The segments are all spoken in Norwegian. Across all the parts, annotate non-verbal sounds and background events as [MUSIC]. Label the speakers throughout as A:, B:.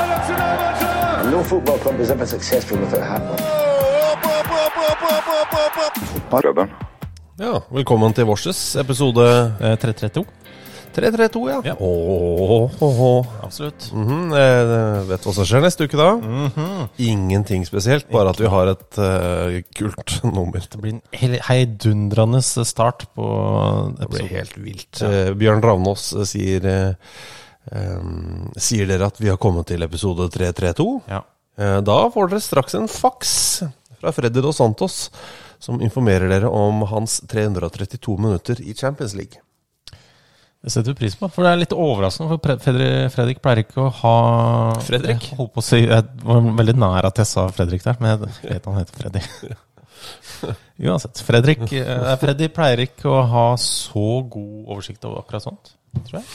A: And no football club is ever successful without happening. Fotballklubben.
B: Ja, velkommen til Vorses episode
C: Eh, 332.
B: 332, ja.
C: Ja.
B: Åh, åh, åh.
C: Absolutt. Mhm.
B: Mhm, eh, vet du hva som skjer neste uke da? Ingenting spesielt, bare at vi har et eh, kult [LAUGHS] nummer.
C: Det blir en hel- heidundrende start på
B: Det blir
C: episoden.
B: helt vilt. Eh, Bjørn Ravnås eh, sier eh, em, Ehm, Sier dere at vi har kommet til episode 332?
C: Ja.
B: Eh, Da får dere straks en faks fra Freddy Dos Santos, som informerer dere om hans 332 minutter i Champions League. [LAUGHS]
C: Det setter vi pris på. For det er litt overraskende, for Pre- Fredri- Fredrik pleier ikke å ha
B: Fredrik?
C: Jeg holdt på å si Jeg var veldig nær at jeg sa Fredrik der, men jeg vet han heter [LAUGHS] Freddy. Uansett. Fredrik eh, Freddy pleier ikke å ha så god oversikt over akkurat sånt, tror jeg.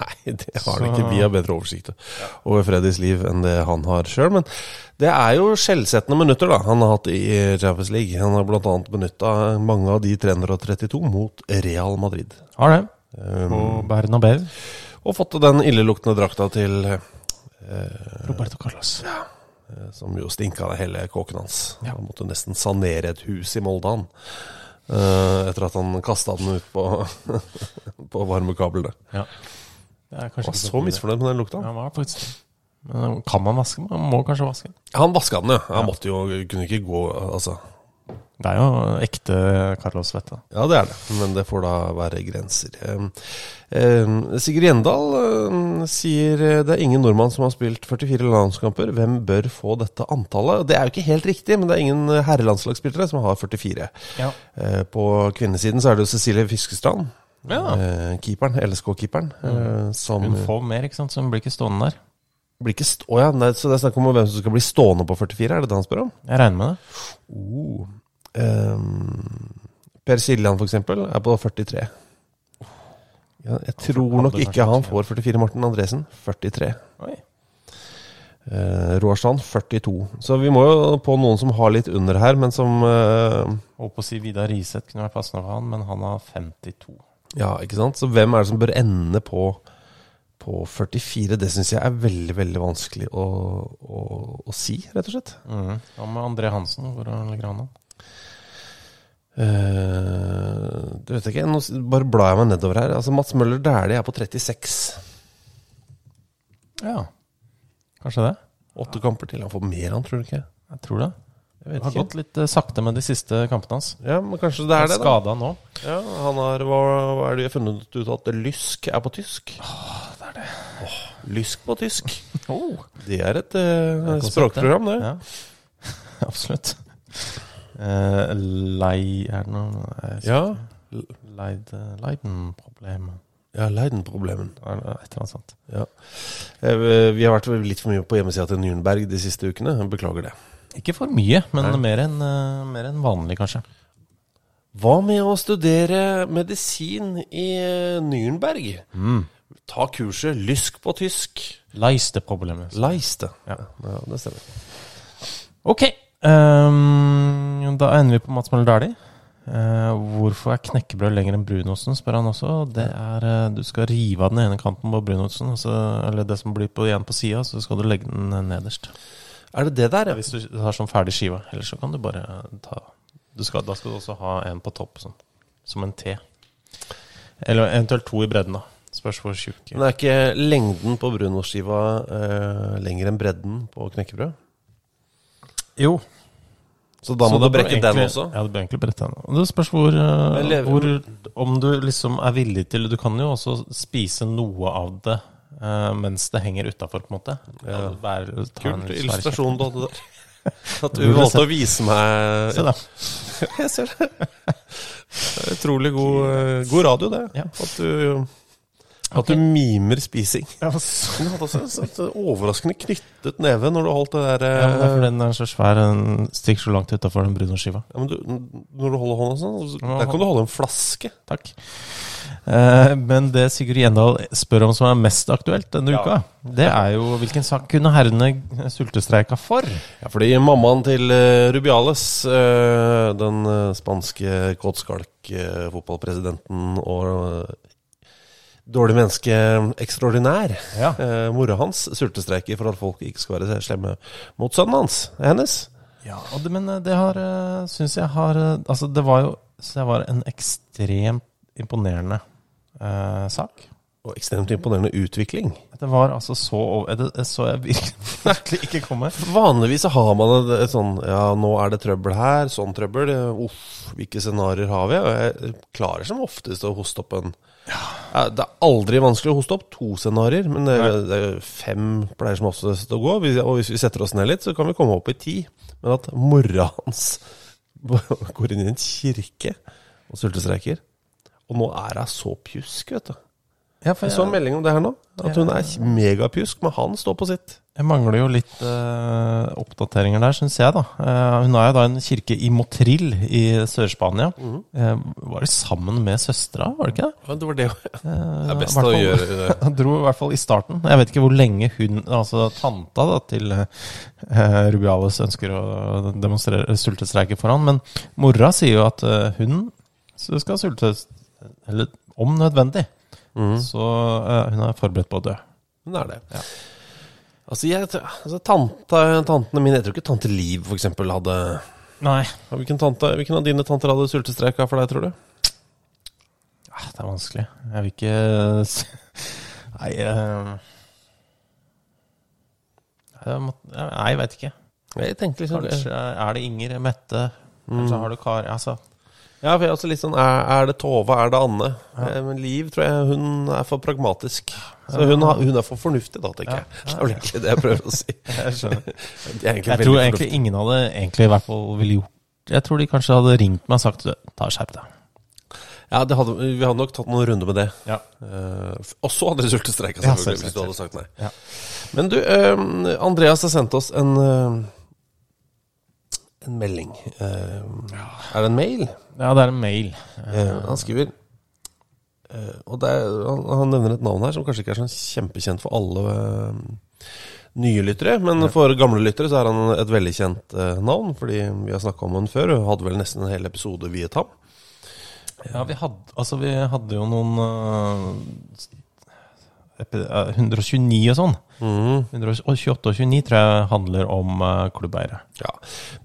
B: Nei, det har han
C: Så-
B: ikke. Vi har bedre oversikt over Freddys liv enn det han har sjøl. Men det er jo skjellsettende minutter da han har hatt i Champions League. Han har bl.a. benytta mange av de 332 mot Real Madrid.
C: Har det.
B: Um,
C: På Bernabeu.
B: og fått den illeluktende drakta til eh,
C: Roberto Carlos.
B: Som jo stinka av hele kåken hans. Han måtte nesten sanere et hus i Molde, han. eh, etter at han kasta den ut på, [LAUGHS] på varmekablene.
C: Ja. Det er
B: Han
C: kanskje
B: var så misfornøyd med den lukta.
C: Ja, han var faktisk det. Men eh, kan man vaske den? Man må kanskje vaske den.
B: Han vaska den, ja. Han måtte jo, kunne ikke gå Altså.
C: Det er jo ekte Carlos Vette.
B: Ja, det er det, men det får da være grenser. Ehm, ehm, Sigurd Gjendal ehm, sier eh, det er ingen nordmann som har spilt 44 landskamper. Hvem bør få dette antallet? Det er jo ikke helt riktig, men det er ingen eh, herrelandslagsspillere som har 44.
C: Ja.
B: Eh, På kvinnesiden så er det jo Cecilie Fiskestrand,
C: Ja.
B: eh, keeperen, LSK-keeperen, eh, som
C: Hun får mer, ikke sant, så hun blir ikke stående der.
B: blir ikke stå... Å ja, nei, så det er snakk om hvem som skal bli stående på 44, er det det han spør om?
C: Jeg regner med det.
B: Oh. Ehm, per Siljan, for eksempel, er på 43. Ja, jeg tror nok ikke han får 44. Morten Andresen 43.
C: Oi.
B: Uh, Roar Strand 42. Så vi må jo på noen som har litt under her, men som eh,
C: Holdt på å si Vidar Riseth kunne vært passende for han, men han har 52.
B: Ja, ikke sant? Så hvem er det som bør ende på på 44, det syns jeg er veldig veldig vanskelig å, å, å si, rett og slett.
C: Mm. Hva med André Hansen? Hvor han ligger han an?
B: Eh, det vet jeg ikke. Nå s- bare blar jeg meg nedover her. Altså, Mats Møller Dæhlie er på 36.
C: Ja, kanskje det?
B: Åtte kamper til. Han får mer, han, tror du ikke?
C: Jeg tror det.
B: Jeg vet
C: Det har
B: ikke.
C: gått litt eh, sakte med de siste kampene hans.
B: Ja, men kanskje det er det, da.
C: Skada
B: [LAUGHS]
C: nå.
B: Ja, han har, hva, hva er det vi har funnet ut at lysk er på tysk? Åh, det er det. lysk på tysk. Det er et eh,
C: Konseptet.
B: språkprogram, det.
C: Ja. [LAUGHS] Absolutt. Eh, lei Er det noe jeg
B: Ja,
C: Leid, eh, Leiden-problem
B: ja Leiden-problemen.
C: Et eller annet sånt.
B: Ja. Eh, Vi har vært litt for mye på hjemmesida til Nürnberg de siste ukene. Jeg Beklager det.
C: Ikke for mye, men
B: Nei.
C: mer enn eh, mer enn vanlig, kanskje.
B: Hva med å studere medisin i eh, Nürnberg?
C: Mm.
B: Ta kurset Lysk på tysk.
C: Leisteproblemet.
B: Leiste.
C: Ja.
B: ja det stemmer.
C: Ok, ehm, da ender vi på Mats Møller Dæhlie. Eh, hvorfor er knekkebrød lenger enn brunosten, spør han også. Det er, eh, Du skal rive av den ene kanten på brunosten, og så- eller det som blir på, igjen på sida, så skal du legge den nederst.
B: Er det det der, ja?
C: Hvis du har sånn ferdig skive, eller så kan du bare eh, ta du skal, Da skal du også ha en på topp, sånn. Som en T. Eller eventuelt to i bredden, da. Spørs hvor tjukk
B: Men er ikke lengden på brunostskiva eh, lenger enn bredden på knekkebrød?
C: Jo.
B: Så da må
C: Så
B: du
C: det bør
B: brekke den
C: egentlig-
B: også?
C: Ja, du bør egentlig brekke den. Og det spørs hvor, eh,
B: Men lever-
C: hvor Om du liksom er villig til Du kan jo også spise noe av det eh, mens det henger utafor, på en måte. Ja. Vær, ta en
B: Kult
C: svær
B: illustrasjon du hadde der. [LAUGHS] At du
C: Burde
B: valgte
C: sett-
B: å vise meg
C: kjeft. Se da.
B: [LAUGHS] Jeg ser det. Det er Utrolig god, eh, god radio, det.
C: Ja.
B: At du at du mimer spising.
C: Ja, så-
B: Men Du hadde også en sånn overraskende knyttet neve når du holdt det der
C: Ja, men det er
B: eh,
C: fordi den er så svær. Den stikker så langt utafor den brunostskiva.
B: eh, ja, men du, Når du holder hånda sånn, så-
C: Ja,
B: der kan du holde en flaske.
C: Takk. Eh, men det Sigurd Gjendal spør om som er mest aktuelt denne
B: Ja.
C: uka, det er jo hvilken sak kunne herrene sultestreika for?
B: Ja, fordi mammaen til eh, Rubiales, eh, den eh, spanske kåtskalk-fotballpresidenten og eh, dårlig menneske ekstraordinær,
C: Ja.
B: eh, mora hans sultestreiker for at folk ikke skal være slemme mot sønnen hans, hennes.
C: Ja, og det, men eh, det har eh, Synes jeg har eh, Altså, det var jo Så det var en ekstremt imponerende eh, sak.
B: Og ekstremt imponerende utvikling.
C: Det var altså så over Det det så jeg virkelig [LAUGHS] virkelig ikke komme.
B: Vanligvis så har man et, et sånn Ja, nå er det trøbbel her, sånn trøbbel. eh, Uff, hvilke scenarioer har vi? Og jeg klarer som oftest å hoste opp en ja. Det er aldri vanskelig å hoste opp to scenarioer, men det, det er fem pleier som oftest å gå. Vi- Og hvis vi setter oss ned litt, så kan vi komme opp i ti. Men at mora hans [LAUGHS] går inn i en kirke og sultestreiker Og nå er hun så pjusk, vet du.
C: Ja, for
B: Jeg så en
C: jeg,
B: melding om det her nå. At hun er megapjusk, men han står på sitt.
C: jeg mangler jo litt eh, oppdateringer der, syns jeg, da. Eh, hun er jo da en kirke i Motril i Sør-Spania. Eh, var det sammen med søstera, var det ikke det?
B: Mhm. Ja, det var det Det er best
C: Eh, hvert
B: å
C: fall-
B: gjøre det.
C: [LAUGHS] Han dro i hvert fall i starten. Jeg vet ikke hvor lenge hun, altså tanta da, til eh, Rubiales ønsker å demonstrere sultestreike for han, men mora sier jo at eh, hun skal sulte, eller om nødvendig,
B: Mm.
C: så eh, hun er forberedt på å dø.
B: Hun er det. Altså, jeg, altså tante, tantene mine Jeg tror ikke tante Liv for eksempel hadde
C: Nei.
B: hvilken, tante, hvilken av dine tanter hadde sultestreika for deg, tror du?
C: Ah, Det er vanskelig. Jeg vil ikke eh, s- Nei, eh, jeg, må, nei, jeg veit ikke.
B: Jeg tenker liksom
C: Kanskje er det Inger, Mette,
B: Mm.
C: kanskje har du Kari altså,
B: Ja, for jeg er også litt sånn Er, er det Tove, er det Anne? Eh, Men Liv tror jeg hun er for pragmatisk. Så hun, har, hun er for fornuftig, da, tenker jeg. [LAUGHS] Det er vel egentlig det jeg prøver å si.
C: Jeg skjønner.
B: De er egentlig
C: Jeg
B: veldig
C: tror egentlig
B: fornuftige.
C: ingen hadde egentlig i hvert fall ville gjort Jeg tror de kanskje hadde ringt meg og sagt «Du, Ta og skjerp deg.
B: Ja, det hadde, Vi hadde nok tatt noen runder med det.
C: Ja.
B: Eh, f- og så hadde du sultestreika,
C: Ja,
B: selvfølgelig, hvis
C: selvsagt.
B: du hadde sagt nei.
C: Ja.
B: Men du, eh, Andreas har sendt oss en eh, en melding. Eh, Er det en mail?
C: det er en mail.
B: Eh, han skriver eh, Og det er, han, han nevner et navn her som kanskje ikke er sånn kjempekjent for alle eh, nye lyttere, men for gamle lyttere så er han et veldig kjent eh, navn, fordi vi har snakka om han før, og hadde vel nesten en hel episode viet ham.
C: Ja, vi hadde, altså, vi hadde jo noen øh, epi- øh, 129 og sånn.
B: Mm.
C: 128 og 29 tror jeg handler om uh, klubbeiere.
B: Ja,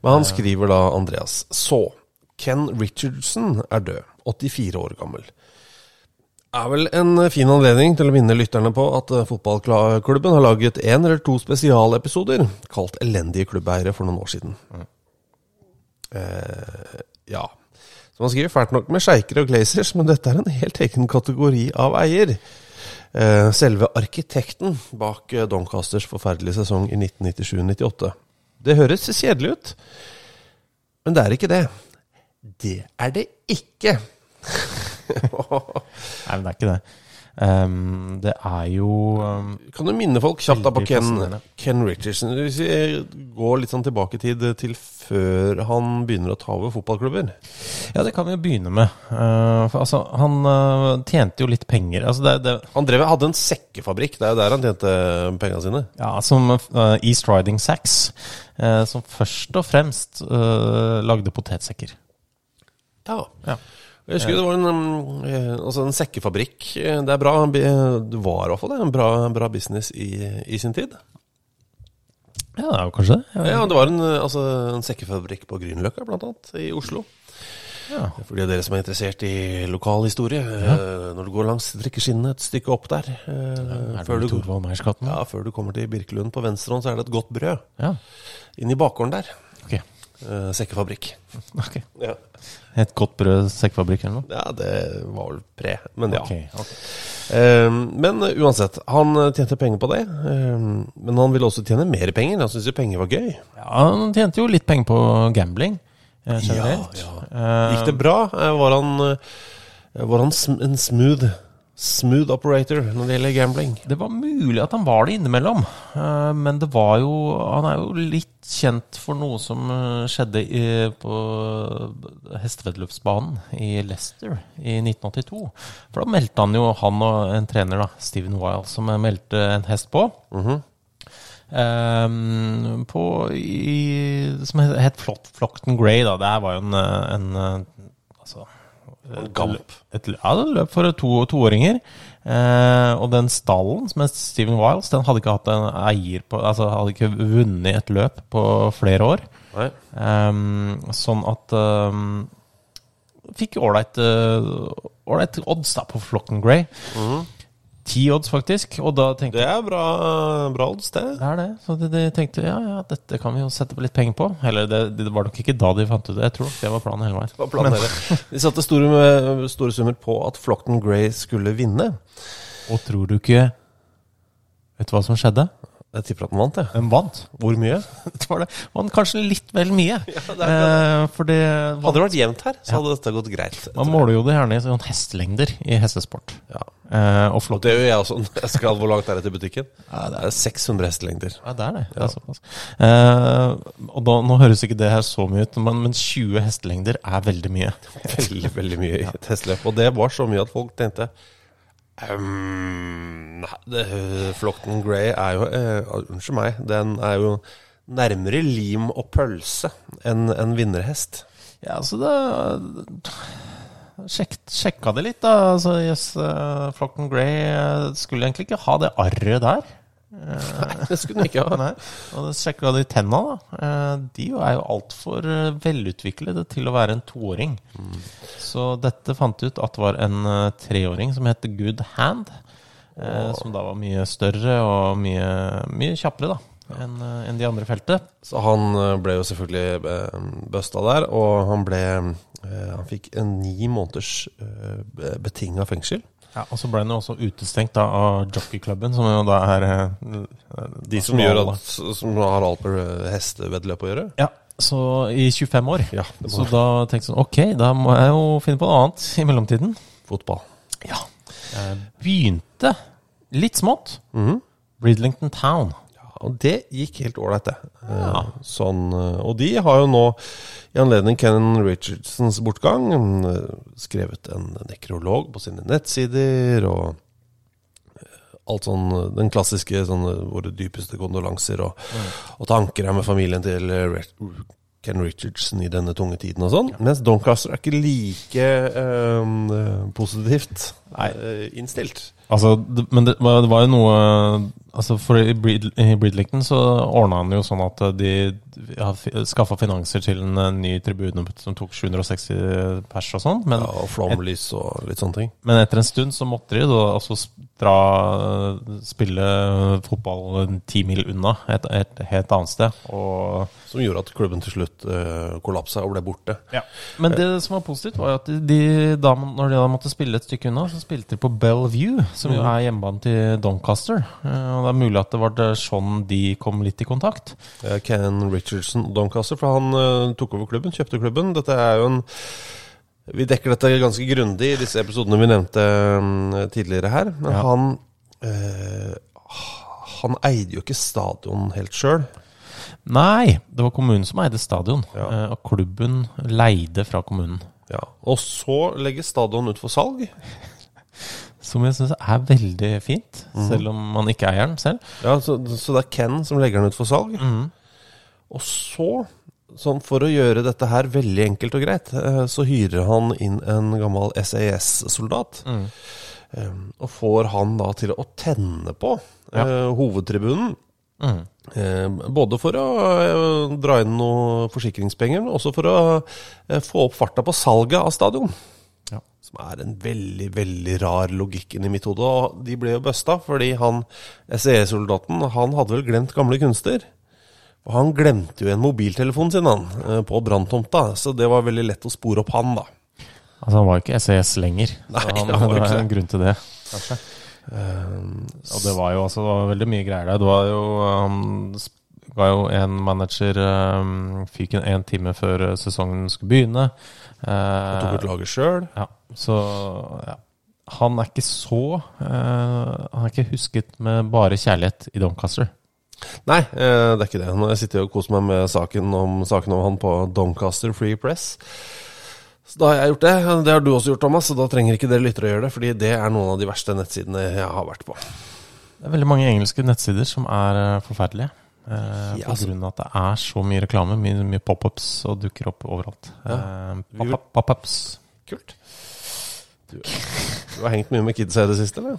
B: Men han skriver da, Andreas Så, Ken Richardson er død, 84 år gammel. Er vel en fin anledning til å minne lytterne på at eh, fotballklubben har laget en eller to spesialepisoder kalt 'Elendige klubbeiere' for noen år siden. Eh, ja. Så man skriver fælt nok med sjeiker og glazers, men dette er en helt egen kategori av eier. Eh, selve arkitekten bak eh, Doncasters forferdelige sesong i 1997-98. Det høres kjedelig ut, men det er ikke det. Det er det ikke! [LAUGHS]
C: Nei, men det er ikke det. Ehm, det er jo ehm,
B: Kan du minne folk kjapt da på
C: Veldig
B: Ken,
C: fascinerende.
B: Ken Richardson? Hvis vi går litt sånn tilbake i tid eh, til før han begynner å ta over fotballklubber.
C: Ja, det kan vi jo begynne med. Eh, for, altså, han øh, tjente jo litt penger. Altså, det, det,
B: Han drev, hadde en sekkefabrikk, det er jo der han tjente eh, pengene sine.
C: Ja, som eh, East Riding Sacks, eh, som først og fremst eh, lagde potetsekker.
B: Ja.
C: Ja.
B: Jeg husker det var en, um, eh, altså en sekkefabrikk. eh, Det er bra, eh, det var i hvert fall det, en bra, bra business i, i sin tid.
C: Ja, det er jo kanskje det. Jeg-
B: Ja, det var en, eh, altså, en sekkefabrikk på Grünerløkka, blant annet, i Oslo.
C: Ja.
B: For de av dere som er interessert i lokalhistorie, eh, når du går langs drikkeskinnene et stykke opp der eh,
C: Er
B: før,
C: det
B: du,
C: Thorvald Meiersgaten?
B: ja, før du kommer til Birkelund på venstre hånd, så er det et godt brød.
C: Ja.
B: Inn i bakgården der.
C: Ok.
B: eh, sekkefabrikk.
C: [LAUGHS] ok.
B: Ja.
C: Et godt brød sekkefabrikk eller noe?
B: det var vel pre, men ja.
C: Ok, ok.
B: Eh, men uansett, han eh, tjente penger på det. eh, men han ville også tjene mer penger. Han syntes jo penger var gøy.
C: Ja, han tjente jo litt penger på gambling eh, generelt.
B: Ja,
C: Eh,
B: Gikk det bra? Eh, Var han, eh, var han sm en smooth Smooth operator når det gjelder gambling?
C: det var mulig at han var det innimellom, eh, men det var jo Han er jo litt kjent for noe som eh, skjedde i, på hesteveddeløpsbanen i Leicester i 1982. For da meldte han jo, han og en trener, da, Steven Wild, som eh, meldte en hest på. Ehm, på, i, som het het Flot, Flockton Grey. Da. Det her var jo en, eh, en eh, altså,
B: En galp.
C: Et, lø- ja, det løp for to, toåringer. Eh, og den stallen som het Steven Wiles, den hadde ikke hatt en eier på Altså hadde ikke vunnet et løp på flere år.
B: [LAUGHS] Nei.
C: Ehm, sånn at ehm, Fikk ålreit eh, ålreit odds da på Flocken Grey. Ti odds, faktisk. Og da tenkte
B: Mhm. Det er bra, bra odds, det.
C: det er det. Så de, de tenkte ja, ja, dette kan vi jo sette på litt penger på. Eller det, det var nok ikke da de fant ut det. Jeg tror nok det var planen hele veien.
B: Hva planen
C: Men-
B: dere? De satte store, eh, store summer på at Flockton Grey skulle vinne.
C: Og tror du ikke Vet du hva som skjedde?
B: Jeg tipper at den vant, jeg.
C: Den vant.
B: Hvor mye?
C: [LAUGHS] Det var det. Vant kanskje litt vel mye.
B: det er
C: eh, for det
B: Hadde det vært jevnt her, så hadde dette gått greit.
C: Man måler jo det gjerne i sånn hestelengder i hestesport.
B: Ja.
C: Eh, og
B: Og
C: flott.
B: det gjør jeg også. [LAUGHS] når Jeg skal, hvor langt er det til butikken? det er 600 hestelengder.
C: Ja, det er det. det er såpass. Eh, og da, nå høres ikke det her så mye ut, men, men 20 hestelengder er veldig mye.
B: Veldig, veldig mye i et hesteløp. Og det var så mye at folk tenkte «Ehm, nei, det, Flockton Grey er jo eh, Unnskyld meg, den er jo nærmere lim og pølse enn en vinnerhest.
C: Ja, så da sjekk, Sjekka det litt, da. Altså, yes, eh, Flockton Grey eh, skulle egentlig ikke ha det arret der. Eh,
B: Det skulle den ikke ha.
C: Nei. Og da sjekka de tenna, da. Eh, De er jo altfor eh, velutviklede til å være en toåring. Så dette fant ut at var en eh, treåring som het Good Hand. eh, Som da var mye større og mye, mye kjappere da enn eh, enn de andre i feltet.
B: Så han eh, ble jo selvfølgelig eh, busta der, og han ble eh, Han fikk en ni måneders eh, betinga fengsel.
C: Ja, og så ble han jo også utestengt da, av jockeyklubben, som jo da er eh,
B: De som, gjør at, som har alt med hesteveddeløp å gjøre.
C: Ja, så i 25 år.
B: Ja, det må
C: så da tenkte jeg sånn, ok, da må jeg jo finne på noe annet i mellomtiden.
B: Fotball.
C: Ja. Eh, Begynte litt smått. Bridlington Town.
B: Ja, og det gikk helt ålreit, det. Eh, Sånn, eh, og de har jo nå, i anledning Kennan Richardsons bortgang, eh, skrevet en nekrolog på sine nettsider, og eh, alt sånn eh, Den klassiske sånn eh, våre dypeste kondolanser og, og tanker her med familien til eh, Rich- Ken Richardson i denne tunge tiden og sånn. Mens Doncaster er ikke like eh, positivt eh, innstilt.
C: Altså, det, men det, var- det var jo noe altså For i, Brid, i Bridlington så ordna han jo sånn at de ja, skaffa finanser til en eh, ny tribune som tok 760 pers og sånn, men
B: Ja, og flomlys og litt sånne ting.
C: Men etter en stund så måtte de da altså sp- dra, spille fotball ti mil unna, et, et helt annet sted. Og,
B: Som gjorde at klubben til slutt eh, kollapsa og ble borte.
C: Men det som var positivt, var jo at de, de, da, når de da måtte spille et stykke unna, så spilte de på Bellevue, som jo er hjemmebanen til Doncaster. Eh, Og det er mulig at det var det sånn de kom litt i kontakt.
B: Eh, Ken Richardson og Doncaster, for han eh, tok over klubben, kjøpte klubben. Dette er jo en Vi dekker dette ganske grundig i disse episodene vi nevnte mm, tidligere her. Men
C: Ja.
B: han eh, Han eide jo ikke stadion helt sjøl.
C: Nei, det var kommunen som eide stadion,
B: Ja.
C: eh, og klubben leide fra kommunen.
B: Ja. Og så legges stadion ut for salg.
C: Som jeg syns er veldig fint, selv om man ikke eier den selv.
B: Ja, så, så det er Ken som legger den ut for salg. Og så, sånn for å gjøre dette her veldig enkelt og greit, eh, så hyrer han inn en gammel SAS-soldat. eh, Og får han da til å tenne på eh, hovedtribunen. Eh, Både for å eh, dra inn noen forsikringspenger, men også for å eh, få opp farta på salget av stadion.
C: Ja.
B: Som er en veldig, veldig rar logikk inni mitt hode. Og de ble jo busta fordi han SE-soldaten, han hadde vel glemt gamle kunster. Og han glemte jo en mobiltelefon sin, han, eh, på branntomta. Så det var veldig lett å spore opp han, da.
C: Altså, han var jo ikke SES lenger. så
B: [LAUGHS] Nei,
C: han,
B: han var
C: det
B: ikke
C: er
B: det.
C: en grunn til det, kanskje. og det var jo også det var veldig mye greier der. Det var jo um, sp- ga jo en manager um, fyken én time før eh, sesongen skulle begynne.
B: Han tok ut
C: Uh,
B: laget sjøl.
C: ja, så ja. Han er ikke så eh, Han er ikke husket med bare kjærlighet i Doncaster.
B: Nei, eh, det er ikke det. Nå sitter jeg og koser meg med saken om, saken om han på Doncaster Free Press. Så da har jeg gjort det. Det har du også gjort, Thomas, så da trenger ikke dere lyttere å gjøre det. Fordi det er noen av de verste nettsidene jeg har vært på.
C: Det er veldig mange engelske nettsider som er eh, forferdelige. Eh,
B: Ja,
C: på
B: altså.
C: grunn av at det er så mye reklame, mye, mye pop-ups og dukker opp overalt. Eh,
B: vi-
C: pop- pop-ups.
B: Kult. Du, du har hengt mye med kids her i det siste, eller?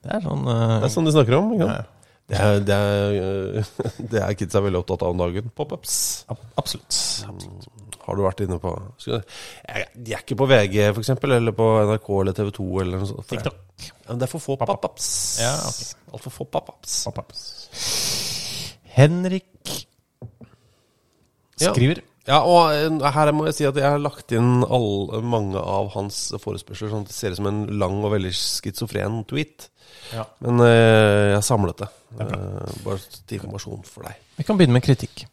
C: Det er sånn
B: Det er sånn de snakker om, ikke sant? Det er, det, er, [LAUGHS] eh, det er kidsa veldig opptatt av om dagen. Pop-ups.
C: Absolutt.
B: Har du vært inne på Skal- Jeg- De er ikke på VG, for eksempel, eller på NRK eller TV 2 eller noe sånt.
C: TikTok.
B: Ja, men det er for få pop-ups.
C: Ja, ok.
B: Altfor få pop-ups.
C: Pop-ups. Henrik
B: Ja.
C: skriver
B: Ja, og eh, her må jeg si at jeg har lagt inn all, mange av hans forespørsler, sånn at det ser ut som en lang og veldig schizofren tweet.
C: Ja.
B: Men eh, jeg har samlet det. Eh, bare til informasjon for deg.
C: Vi kan begynne med kritikk.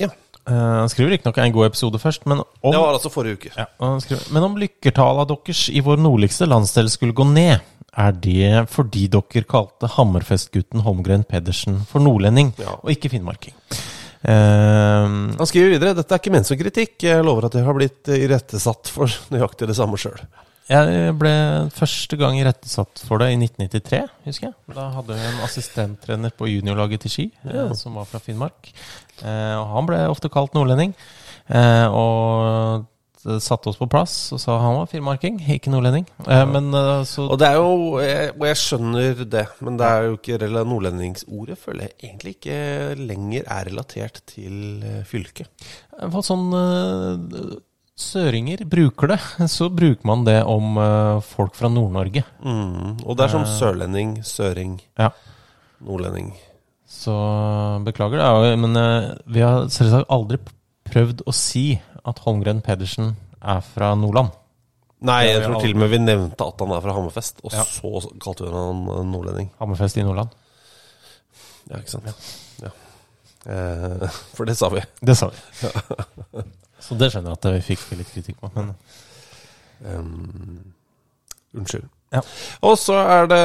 B: Ja.
C: Eh, Han skriver riktignok en god episode først, men om
B: Det var altså forrige uke.
C: Ja, og han skriver, Men om lykkertallene deres i vår nordligste landsdel skulle gå ned, er det fordi dere kalte Hammerfest-gutten Holmgren Pedersen for nordlending,
B: Ja.
C: og ikke finnmarking? Ehm,
B: Han skriver videre dette er ikke ment som kritikk. Jeg lover at jeg har blitt eh, irettesatt for [LAUGHS] nøyaktig det samme sjøl.
C: jeg ble første gang irettesatt for det i 1993, husker jeg. Da hadde jeg en assistenttrener på juniorlaget til Ski, eh, som var fra Finnmark. Eh, og han ble ofte kalt nordlending. Eh, og det satte oss på plass og sa han var finnmarking, ikke nordlending. Eh, men eh, så
B: Og det er jo, jeg, og jeg skjønner det, men det er jo ikke rela- nordlendingsordet føler jeg egentlig ikke lenger er relatert til eh, fylket.
C: Hva sånn eh, Søringer bruker det, [LAUGHS] så bruker man det om eh, folk fra Nord-Norge.
B: Mm. Og det er som sørlending, søring,
C: Ja.
B: nordlending.
C: Så eh, beklager det, ja, men eh, vi har selvsagt aldri prøvd å si at Holmgren Pedersen er fra Nordland.
B: Nei,
C: Det er
B: jeg
C: jo
B: tror til og med vi nevnte at han er fra Hammerfest, og
C: Ja.
B: så kalte hun han eh, nordlending.
C: Hammerfest i Nordland.
B: Ja, ikke sant? Ja. Eh, [LAUGHS] for det sa vi.
C: Det sa vi. [LAUGHS] Så det skjønner jeg at eh, vi fikk litt kritikk på. Men
B: Um, unnskyld.
C: Ja.
B: Og så er det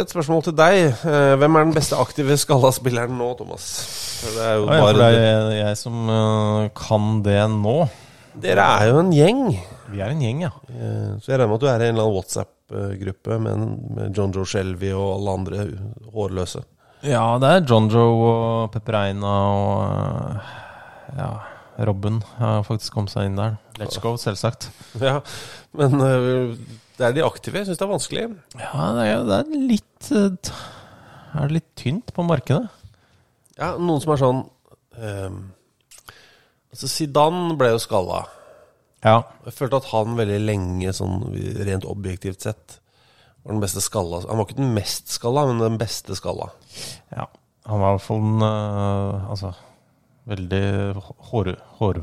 B: et spørsmål til deg. Eh, Hvem er den beste aktive skalla spilleren nå, Thomas? For Det er jo
C: ja, ja, for
B: bare
C: det er jeg, jeg som eh, kan det nå.
B: Dere er jo en gjeng,
C: Vi er en gjeng, ja.
B: eh, så jeg regner med at du er i en eller annen WhatsApp-gruppe med, en- med John Joe Shelby og alle andre
C: [LAUGHS]
B: hårløse.
C: Ja, det er John Joe og Pepper Eina og øh, ja, Robben har faktisk kommet seg inn der. Let's go, selvsagt.
B: Ja, men eh, det er de aktive. Jeg syns det er vanskelig.
C: Ja, det er, det er litt øh, t- Er det litt tynt på markedet?
B: Ja, noen som er sånn ehm, Altså, Zidane ble jo skalla.
C: Ja.
B: Jeg følte at han veldig lenge, sånn rent objektivt sett, var den beste skalla. Han var ikke den mest skalla, men den beste skalla.
C: ja. Han var i hvert fall en øh, Altså veldig hår, hår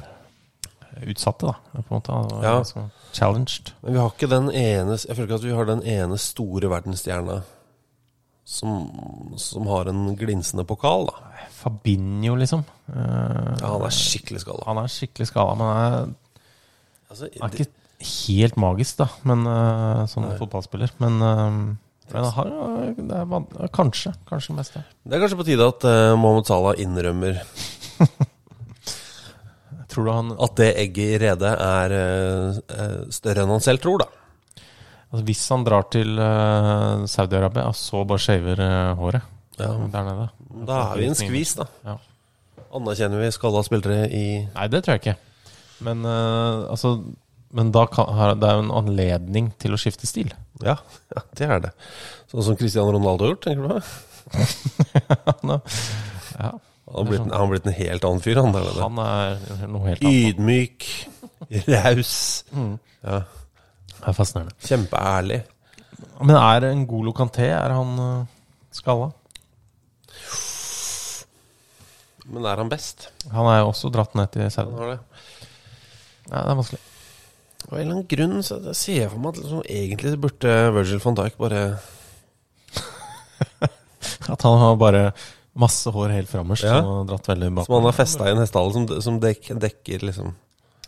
C: utsatte, da, på en måte. Han var
B: Ja.
C: ganske challenged.
B: Men vi har ikke den ene Jeg føler ikke at vi har den ene store verdensstjerna som, som har en glinsende pokal, da.
C: Fabinho, liksom. Øh,
B: Ja, han er skikkelig skalla.
C: han er skikkelig skada, men er
B: Altså,
C: Han er
B: det-
C: ikke helt magisk, da, men øh, som fotballspiller. Men øh, men han har, øh, det er van- øh, kanskje kanskje det meste.
B: det er kanskje på tide at eh, Mohammed Salah innrømmer
C: Tror du han
B: at det egget i redet er eh, eh, større enn han selv tror, da.
C: altså, Hvis han drar til øh, Saudi-Arabia og så bare shaver øh, håret
B: Ja.
C: der nede
B: Da er vi i en skvis, da.
C: Ja.
B: Anerkjenner vi skalla spillere i
C: Nei, det tror jeg ikke. Men øh, altså men da kan, har, det er jo en anledning til å skifte stil.
B: [LAUGHS] Ja, ja det er det. Sånn som Cristiano Ronaldo har gjort, tenker du?
C: Nå- ja.
B: Han har blitt, en- han har blitt en helt annen fyr, han der. eller?
C: Han er noe helt annet.
B: Ydmyk, raus,
C: Mm. Det er fascinerende.
B: kjempeærlig.
C: Men er en god lokanté, er han eh, skalla?
B: Men er han best?
C: Han er jo også dratt ned til
B: Han
C: Saudi.
B: har det.
C: Ja, det er vanskelig.
B: Av en eller annen grunn så så ser jeg for meg at liksom, egentlig så burde Virgil van Dijk bare
C: At han har bare masse hår helt frammest
B: Ja.
C: som har dratt veldig
B: Som han
C: bakover.
B: har festa i en hestehale som, som dek, dekker liksom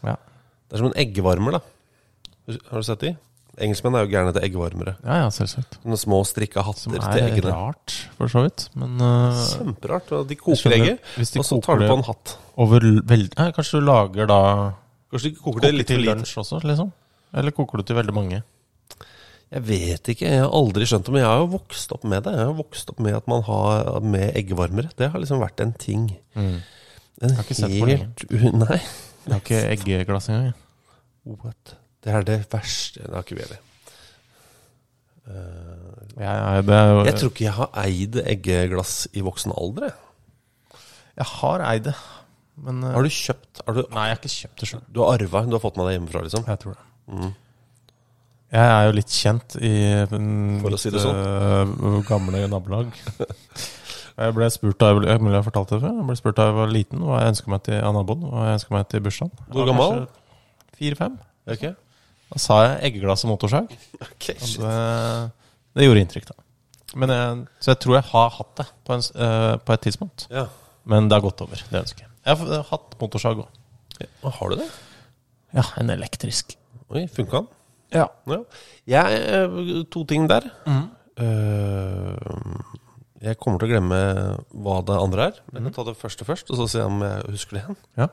C: Ja.
B: Det er som en eggvarmer, da. Har du sett de? Engelskmenn er jo gærne til eggvarmere.
C: ja, ja, selvsagt.
B: Sånne små strikka
C: Som
B: hatter til
C: er
B: eggene.
C: rart, for så vidt. Men eh,
B: Kjemperart. og De
C: Jeg
B: koker
C: skjønner.
B: egget,
C: Hvis de
B: og så
C: koker
B: tar du
C: det-
B: på en hatt.
C: over veldig Nei, kanskje du lager da
B: Kanskje de koker det
C: Koker
B: litt
C: til
B: for lite.
C: lunsj også, liksom? Eller koker du til veldig mange?
B: Jeg vet ikke, jeg har aldri skjønt det, men jeg har jo vokst opp med det. Jeg har vokst opp med at man har med eggevarmere. Det har liksom vært en ting. En
C: Mm. har ikke sett på
B: u- [LAUGHS] Nei.
C: Jeg har ikke eggeglass engang. jeg.
B: What? Det er det verste Det har ikke vi heller. Eh,
C: Jeg, jeg, det er jo,
B: Jeg tror ikke jeg har eid eggeglass i voksen alder. jeg.
C: jeg har eid det, men eh,
B: Har du kjøpt har du,
C: Nei, jeg har ikke kjøpt det sjøl.
B: du har arva, du har fått med deg hjemmefra, liksom?
C: Jeg tror det. Jeg er jo litt kjent i mm,
B: For å si det sånn.
C: mitt, eh, gamle nabolag. Jeg ble spurt da jeg, ble- mulig jeg har fortalt det før. Jeg ble spurt da jeg var liten hva jeg ønska meg til av naboen. Hva jeg ønsket meg til bursdagen. Jeg
B: Hvor
C: var
B: gammel?
C: kanskje Fire-fem.
B: Ok.
C: Da sa jeg eggeglass og motorsag.
B: Ok,
C: Og
B: shit.
C: Det, det gjorde inntrykk, da. Men jeg, så jeg tror jeg har hatt det på, en, s- eh, på et tidspunkt.
B: Ja.
C: Men det har gått over. Det ønsker jeg. Jeg har f- hatt motorsag òg.
B: Hva, Har du det?
C: Ja, en elektrisk.
B: Oi, funka den?
C: Ja. Mm.
B: Ja. Jeg, eh, to ting der. Eh, jeg kommer til å glemme hva det andre er. Jeg kan ta det første først, og så se om jeg husker det igjen.
C: Ja.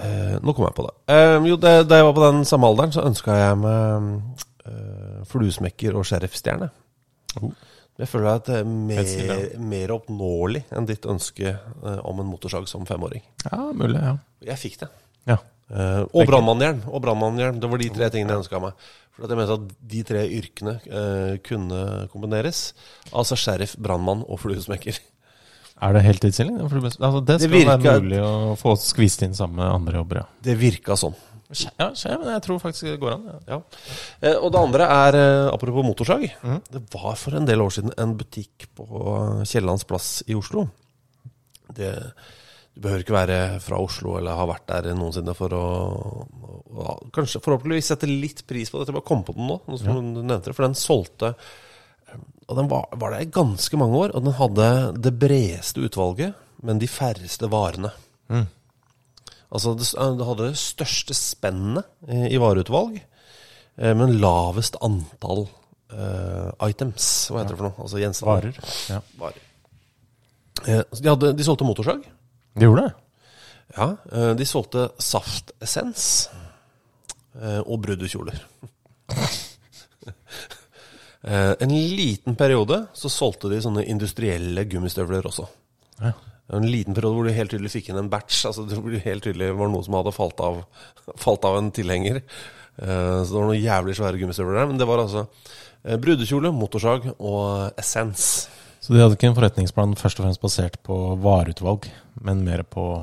B: Eh, nå kom jeg på det. Eh, jo, det, Da jeg var på den samme alderen, så ønska jeg meg eh, fluesmekker og sheriffstjerne.
C: Oh.
B: Jeg føler at det er mer,
C: stille,
B: mer oppnåelig enn ditt ønske eh, om en motorsag som femåring.
C: mulig. Ja.
B: Jeg fikk det.
C: ja.
B: Eh, og brannmannhjelm. Og brannmannhjelm. Det var de tre tingene jeg ønska meg. For at jeg mente at de tre yrkene eh, kunne kombineres. Altså sheriff, brannmann og fluesmekker. [LAUGHS]
C: Er det heltidsstilling? For det beste- Altså, det
B: Det
C: skal det være
B: virker-
C: mulig å få skvist inn sammen med andre jobber, ja.
B: Det virka sånn.
C: Ja, skjer, men jeg tror faktisk det går an. Ja.
B: Ja. Eh, og det andre er, eh, apropos motorsag Det var for en del år siden en butikk på eh, Kiellands plass i Oslo. Det, du behøver ikke være fra Oslo eller ha vært der noensinne for å, å, å Kanskje forhåpentligvis sette litt pris på dette. Jeg bare kom på den nå, nå som du nevnte det. For den solgte ehm, Og den var, var der i ganske mange år, og den hadde det bredeste utvalget, men de færreste varene. Altså, det, s- det hadde det største spennet eh, i vareutvalg, eh, men lavest antall eh, items. Hva heter det for noe? Altså gjenstander.
C: Varer. Ja.
B: Varer. Eh, så de, hadde, de solgte motorsag.
C: Det gjorde det?
B: Ja, eh, de solgte saftessens eh, og brudekjoler. [LAUGHS] Eh, En liten periode så solgte de sånne industrielle gummistøvler også.
C: Ja.
B: En liten periode hvor du helt tydelig fikk inn en batch. Altså det hvor det helt tydelig var noen som hadde falt av, [LAUGHS] falt av en tilhenger. Eh, Så det var noen jævlig svære gummistøvler der. Men det var altså eh, brudekjole, motorsag og essens.
C: Så de hadde ikke en forretningsplan først og fremst basert på vareutvalg, men mer på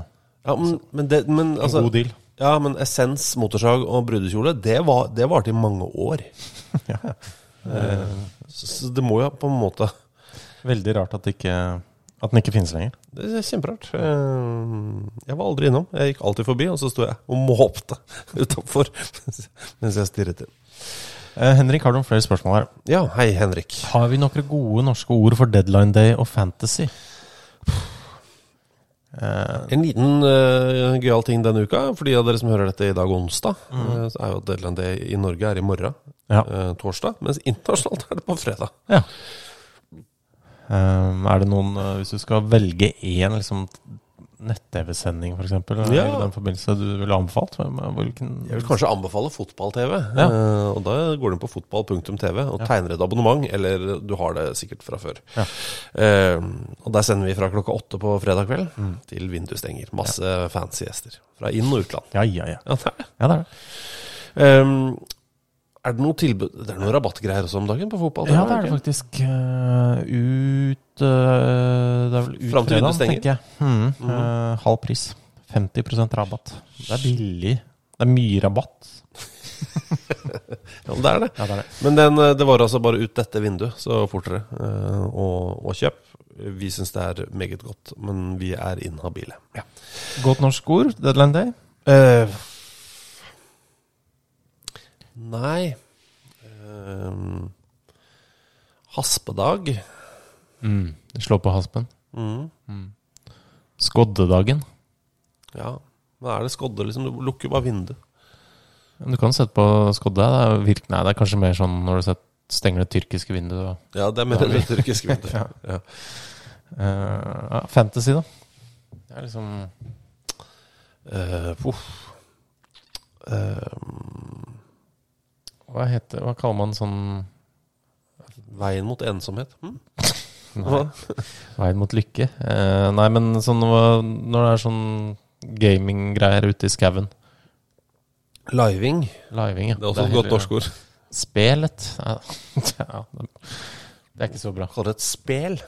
B: Ja, men, men, det, men altså,
C: god deal.
B: Ja, men essens, motorsag og brudekjole, det, var, det varte i mange år.
C: [LAUGHS] ja. ja.
B: Så, så det må jo på en måte
C: Veldig rart at, det ikke, at den ikke finnes lenger.
B: Det er kjemperart. Eh, Jeg var aldri innom. Jeg gikk alltid forbi, og så sto jeg og måpte [LAUGHS] utafor mens jeg stirret inn.
C: Eh, Henrik, har du noen flere spørsmål her?
B: Ja, hei, Henrik.
C: Har vi noen gode norske ord for deadline day og fantasy? Eh,
B: En liten eh, gøyal ting denne uka, for de av dere som hører dette i dag onsdag, eh, så er jo deadline day i Norge er i morgen,
C: Mm. ja.
B: eh, torsdag, mens internasjonalt er det på fredag.
C: ja. Eh, er det noen eh, Hvis du skal velge én liksom, nett-TV-sending, f.eks., ja.
B: Ja.
C: i den forbindelse du ville anbefalt? hvem- Hvilken
B: Jeg vil kanskje anbefale fotball-TV.
C: Ja.
B: eh, og da går du inn på fotball.tv og tegner et abonnement, eller du har det sikkert fra før.
C: Ja.
B: Eh, og der sender vi fra klokka åtte på fredag kveld til vinduet stenger. Masse fancy gjester fra inn- og utland.
C: Ja, ja, ja.
B: Ja, det er det.
C: ja det er det.
B: Ehm, er det noe tilbud Det er noen rabattgreier også om dagen på fotball?
C: Ja, det er det
B: ikke?
C: faktisk. Eh, ut ut øh, Det er vel ut
B: Fram til
C: fredagen,
B: vinduet stenger.
C: tenker jeg. Mhm. Øh, halv pris. 50 rabatt. Det er billig. Det er mye rabatt.
B: Ja, det er det.
C: Ja, det er det.
B: Men den, eh, det var altså bare ut dette vinduet, så fortere. eh, Og, og kjøp. Vi syns det er meget godt, men vi er inhabile. Ja.
C: Godt norsk ord, deadline day.
B: Eh, Nei Ehm, Haspedag.
C: Mm.
B: Mm,
C: Slå på haspen. Skoddedagen.
B: Ja. Hva er det skodde, liksom? Du lukker bare vinduet.
C: Du kan sette på skodde. Det er, virk, nei, det er kanskje mer sånn når du set- stenger det tyrkiske vinduet. og-
B: Ja, det er mer enn det tyrkiske vinduet.
C: Ja.
B: [LAUGHS] ja.
C: Eh, ja, fantasy, da. Det er liksom
B: Eh, puff. Ehm,
C: Hva heter Hva kaller man sånn
B: Veien mot ensomhet. Hm?
C: Nei. Veien mot lykke. Eh, nei, men sånn hva- når det er sånn gaminggreier ute i skauen.
B: Living.
C: Living, ja.
B: Det er også et godt norsk ord.
C: Spelet. Ja, [LAUGHS] ja, det det er ikke så bra. Det
B: Kaller det et spel.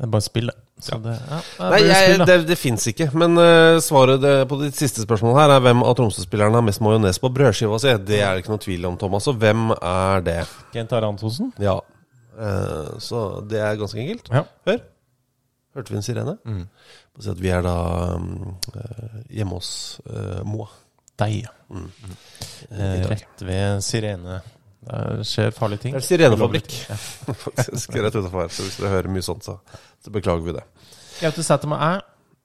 C: er bare spill, det. Så det, ja, det
B: Nei,
C: blir
B: jeg,
C: spill, da.
B: det, det fins ikke. Men eh, svaret det, på ditt siste spørsmål her er hvem av Tromsø-spillerne har mest majones på brødskiva si? Det er det ikke noe tvil om, Thomas. Og hvem er det?
C: Kent Are Antonsen.
B: Ja. Eh, så det er ganske enkelt.
C: Ja.
B: Hør. Hørte vi en sirene? Bare Si at vi er da um, eh, hjemme hos eh, Moa. [LAUGHS]
C: Deg. Eh, Mm. rett ved sirene. Der skjer farlige ting.
B: Det er sirenefabrikk, faktisk. Rett utenfor her. Så hvis dere hører mye sånt, så, så beklager vi det.
C: Gaute Sætherma er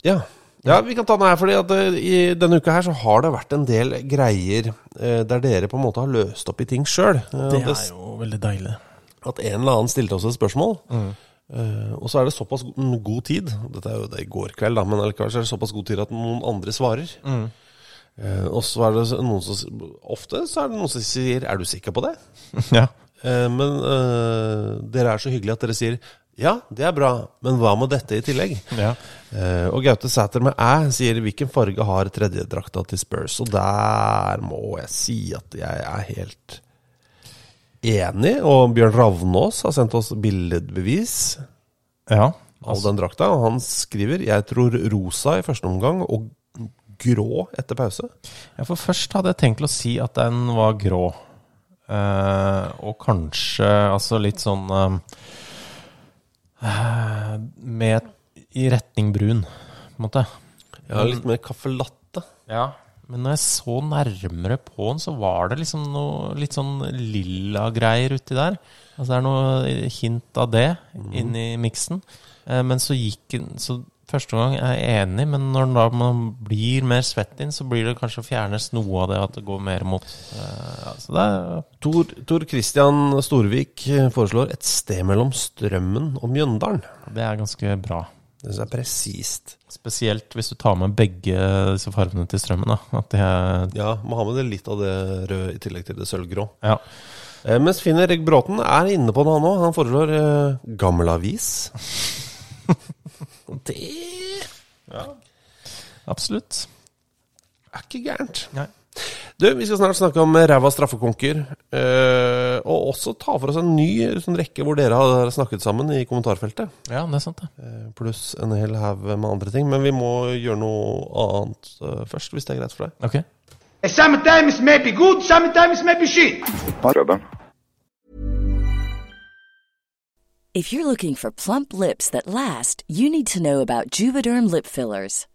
B: Ja. ja, vi kan ta den her, fordi at eh, i denne uka her så har det vært en del greier eh, der dere på en måte har løst opp i ting Eh, sjøl.
C: Det er jo veldig deilig. Mm.
B: At en eller annen stilte oss et spørsmål. Eh, og så er det såpass go- mm, god tid Dette er jo det i går kveld, da, men allikevel så er det såpass god tid at noen andre svarer.
C: Mm.
B: Eh, og så er det så- noen som s- Ofte så er det noen som sier 'Er du sikker på det?'
C: [LAUGHS] Ja.
B: Eh, men eh, dere er så hyggelige at dere sier 'Ja, det er bra, men hva med dette i tillegg?'
C: ja.
B: Eh, og Gaute Sæter med æ sier 'Hvilken farge har tredjedrakta til Spurs?' Og der må jeg si at jeg er helt enig. Og Bjørn Ravnås har sendt oss billedbevis
C: ja.
B: av den drakta. Og han skriver 'Jeg tror rosa i første omgang og grå etter pause'.
C: Ja, for først hadde jeg tenkt til å si at den var grå. Eh, og kanskje altså litt sånn eh, eh, med, I retning brun, på en måte.
B: Ja, litt mer caffè latte.
C: Ja. Men når jeg så nærmere på den, så var det liksom noe litt sånn lilla greier uti der. Altså det er noe hint av det
B: Mhm.
C: inni miksen. Eh, men så gikk den så Første gang er jeg enig, men når den da man blir mer svett inn, så blir det kanskje å fjernes noe av det at det går mer mot eh, ja, Så det er
B: Tor, Tor Christian Storvik foreslår 'Et sted mellom Strømmen og Mjøndalen'.
C: Det er ganske bra.
B: Det synes jeg er presist.
C: Spesielt hvis du tar med begge disse fargene til strømmen. Da. At det er,
B: Ja, må ha med det litt av det røde i tillegg til det sølvgrå.
C: ja.
B: Eh, Mens Finn Erik Bråten er inne på det, han òg. Han foreslår eh, gammel avis. Og det
C: Absolutt.
B: er ikke gærent.
C: Nei.
B: Du, vi skal snart snakke om ræva straffekonker. eh, og også ta for oss en ny sånn rekke hvor dere har snakket sammen i kommentarfeltet.
C: Ja, det er sant, det.
B: Eh, Pluss en hel haug med andre ting. Men vi må gjøre noe annet eh, først, hvis det er greit for deg.
C: Ok.
D: Sometimes maybe good, sometimes maybe shit.
A: Rubber.
E: If you're looking for plump lips that last, you need to know about Juvederm lip fillers.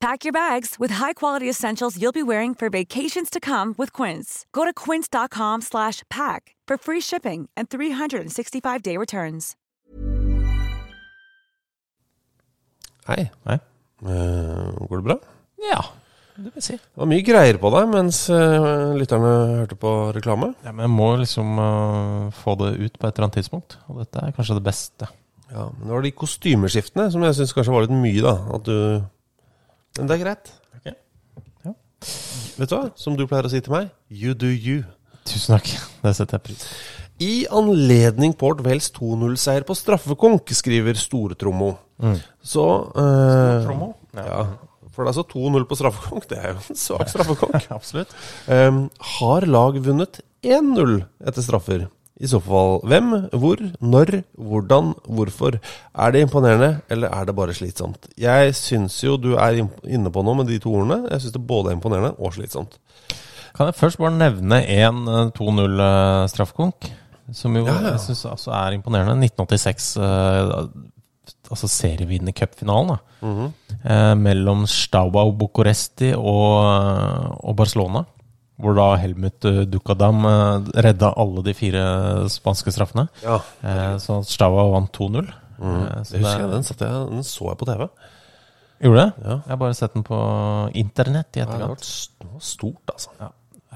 F: Pack your bags with high-quality essentials you'll be wearing for vacations to come with Quince. Go to quince.com slash pack for free shipping and 365-day returns.
B: Hei.
C: Nei?
B: Eh, går det bra?
C: Ja, det vil jeg si.
B: Det var mye greier på deg mens eh, lytterne hørte på reklame.
C: Ja, men jeg må liksom øh, få det ut på et eller annet tidspunkt. Og dette er kanskje det beste.
B: Ja, men Det var de kostymeskiftene som jeg syns kanskje var litt mye, da. At du Men det er greit.
C: Ok. Ja.
B: Ja. Vet du hva, som du pleier å si til meg, you do you.
C: Tusen takk. [LAUGHS] Det setter jeg pris på.
B: I anledning Port Wales 2-0-seier på straffekonk, skriver Stortrommo. Så eh,
C: Promo?
B: Ja. For det er altså 2-0 på straffekonk. Det er jo en svak straffekonk.
C: Absolutt.
B: Ehm, har lag vunnet 1-0 etter straffer? I så fall hvem, hvor, når, hvordan, hvorfor? Er det imponerende, eller er det bare slitsomt? Jeg syns jo du er imp- inne på noe med de to ordene. Jeg syns det både er imponerende og slitsomt.
C: Kan jeg først bare nevne en eh, 2-0-straffekonk, som jo jeg syns altså er imponerende. 1986, eh, altså serievinnende cupfinalen, da.
B: Mhm.
C: eh, mellom Staubau Bucuresti og, og Barcelona. Hvor da Helmut eh, Dukadam eh, redda alle de fire spanske straffene.
B: Ja,
C: Eh, så Staubau vant 2-0. Eh, så
B: Mhm. det husker jeg. Den, satt jeg, den så jeg på TV.
C: Gjorde det?
B: Ja.
C: Jeg har bare sett den på internett i
B: Ja, det, var,
C: etterkant.
B: det var stort, altså.
C: Eh,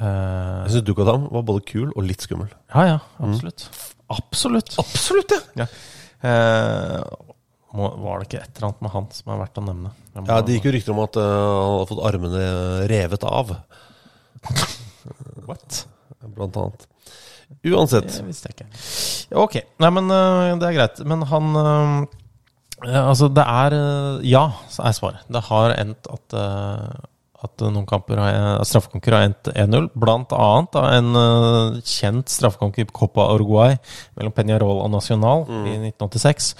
B: Jeg syns Dukadam var både kul og litt skummel.
C: Ja, ja, absolutt. Absolutt.
B: Mm. Absolutt, ja!
C: Ja. Eh, må, var det ikke et eller annet med han som er verdt å nevne? Jeg må-
B: Ja, Det gikk jo rykter om at eh, han hadde fått armene revet av,
C: What?
B: blant annet. Uansett.
C: Det visste jeg ikke. Ja, Ok, nei, men eh, det er greit. Men han eh, eh, Altså, det er eh, Ja, så er svaret. Det har endt at eh, at noen kamper har, at straffekonker har endt 1-0, blant annet av en eh, kjent straffekonker i Copa Uruguay mellom Peñarol og Nacional i
B: Mm.
C: 1986.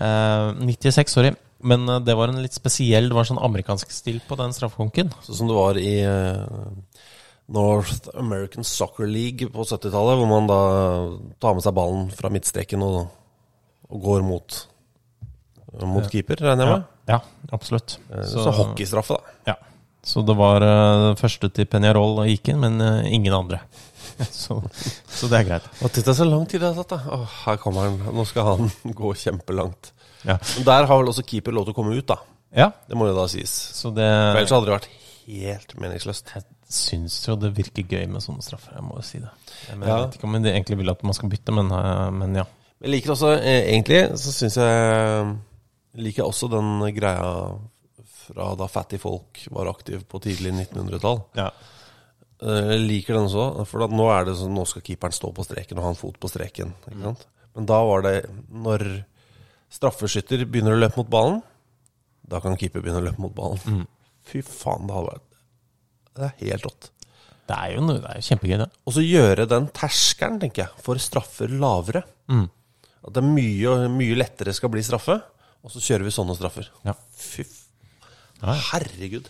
C: Eh, 96, sorry. Men eh, det var en litt spesiell Det var en sånn amerikansk stil på den straffekonken.
B: Sånn som det var i eh, North American Soccer League på 70-tallet, hvor man da tar med seg ballen fra midtstreken og, og går mot, mot keeper, regner jeg
C: Ja,
B: med.
C: ja absolutt.
B: Eh, Så, hockeystraffe, da.
C: Ja. Så det var eh, første til Peñarol gikk inn, men eh, ingen andre. [LAUGHS] så, så det er greit.
B: Og titta så lang tid det har tatt, da. Åh, her kommer han. Nå skal han [LAUGHS] gå kjempelangt.
C: Ja,
B: Men der har vel også keeper lov til å komme ut, da.
C: ja
B: Det må jo da sies.
C: så det
B: For ellers hadde det vært helt meningsløst.
C: Jeg syns jo det virker gøy med sånne straffer, jeg må jo si det. Jeg, mener,
B: Ja.
C: jeg vet ikke om de egentlig vil at man skal bytte, men, eh, men ja.
B: Jeg liker eh, også, eh, egentlig, så syns jeg Liker jeg også den greia f fra da Fatty Folk var aktiv på tidlig 1900-tall.
C: Ja.
B: Eh, Jeg liker den også, for at nå er det sånn Nå skal keeperen stå på streken og ha en fot på streken. Ikke sant? Men da var det Når straffeskytter begynner å løpe mot ballen, da kan keeper begynne å løpe mot ballen. Fy faen, det hadde vært Det er helt rått.
C: Det er jo, noe, det er jo kjempegøy, det.
B: Og så gjøre den terskelen, tenker jeg, for straffer lavere.
C: Mm.
B: At det er mye, mye lettere skal bli straffe, og så kjører vi sånne straffer.
C: Ja.
B: Fy f...
C: Ja, ja. [LAUGHS]
B: Herregud.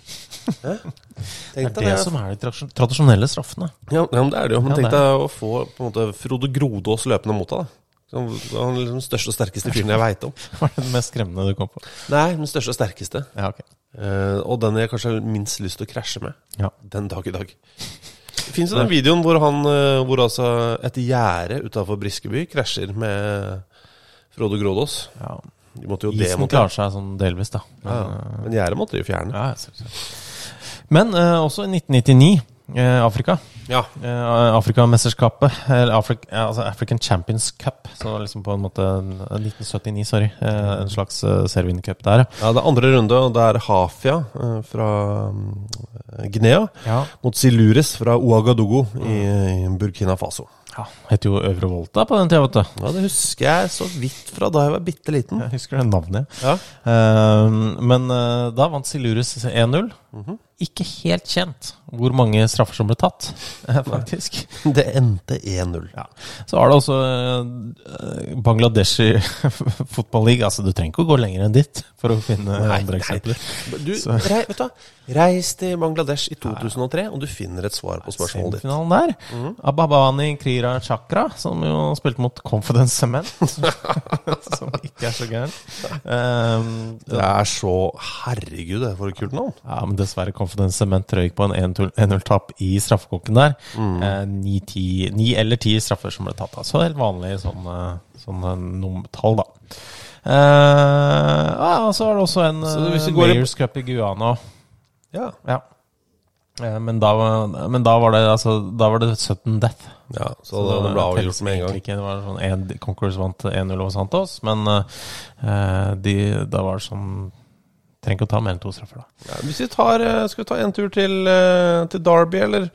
B: Hæ?
C: Det
B: Tenk
C: er det som er de tradisjon- tradisjonelle straffene. [LAUGHS]
B: Ja, ja, men det er det jo. Men
C: Ja,
B: tenk
C: det er
B: deg å få på en måte Frode Grodås løpende mot deg. da. Som- Han er liksom den største og sterkeste fyren jeg veit om.
C: Hva er det mest skremmende du kom på?
B: Nei, den største og sterkeste.
C: Ja, ok.
B: Eh, og den jeg kanskje har minst lyst til å krasje med.
C: Ja.
B: Den dag [LAUGHS] i dag. Fins jo den videoen hvor han eh, Hvor altså et gjerde utafor Briskeby krasjer med Frode Grådås.
C: ja.
B: De måtte jo
C: Isen
B: demontere.
C: klarer seg sånn delvis, da. Men,
B: Ja, ja. Men eh, gjerdet måtte de jo fjerne.
C: ja, jeg ser det. Men eh, også i 1999, eh, Afrika.
B: Ja.
C: Eh, Afrikamesterskapet, eller Afrik, ja, altså African Champions Cup. Så liksom på en måte en- 1979, sorry. Eh, en slags uh, Servin-cup der.
B: ja, det er andre runde, og det er Hafia eh, fra mm, Guinea
C: Ja.
B: mot Silures fra Ouagadougou i, i Burkina Faso.
C: ja. Het jo Øvre Volta på den tida, vet du.
B: Ja, Det husker jeg så vidt fra da jeg var bitte liten.
C: Jeg husker det navnet.
B: Ja.
C: Eh, men eh, da vant Silurus 1-0.
B: Mhm.
C: Ikke helt kjent hvor mange straffer som ble tatt, eh,
B: [LAUGHS]
C: faktisk.
B: Det endte 1-0.
C: Ja. Så har det også eh, [LAUGHS] Bangladeshi Football League. Altså, du trenger ikke å gå lenger enn dit for å finne andre eksempler.
B: Du,
C: Så-
B: rei, vet du, hva? reis til Bangladesh i 2003, og du finner et svar på spørsmålet ditt.
C: Semifinalen der.
B: Mhm.
C: Ababani Krira Chakra, som jo spilte mot
B: [LAUGHS]
C: Confidence Cement. som ikke er så gæren. Um,
B: Det er så Herregud, det er for et kult navn.
C: ja, men dessverre Confidence Cement trøyk på en 1-0-tap i straffekonken der.
B: Mm.
C: Eh, Ni ti- ni eller ti straffer som ble tatt av. Så helt vanlig sånn, eh, sånn eh, num- tall, da. Eh, ja, og så er det også en
B: Så hvis vi
C: eh,
B: går i-
C: Mayors Cup i Guyana.
B: Ja.
C: Ja. Eh, Men da, var- men da var det altså, Da var det sudden death.
B: ja så, det ble avgjort med en gang.
C: Ikke. Det var sånn en, Conquerors vant 1-0 over Santos, men eh, de, da var det sånn Trenger ikke å ta mer enn to straffer, da.
B: Ja, hvis vi tar, eh, skal vi ta en tur til, eh, til Derby, eller?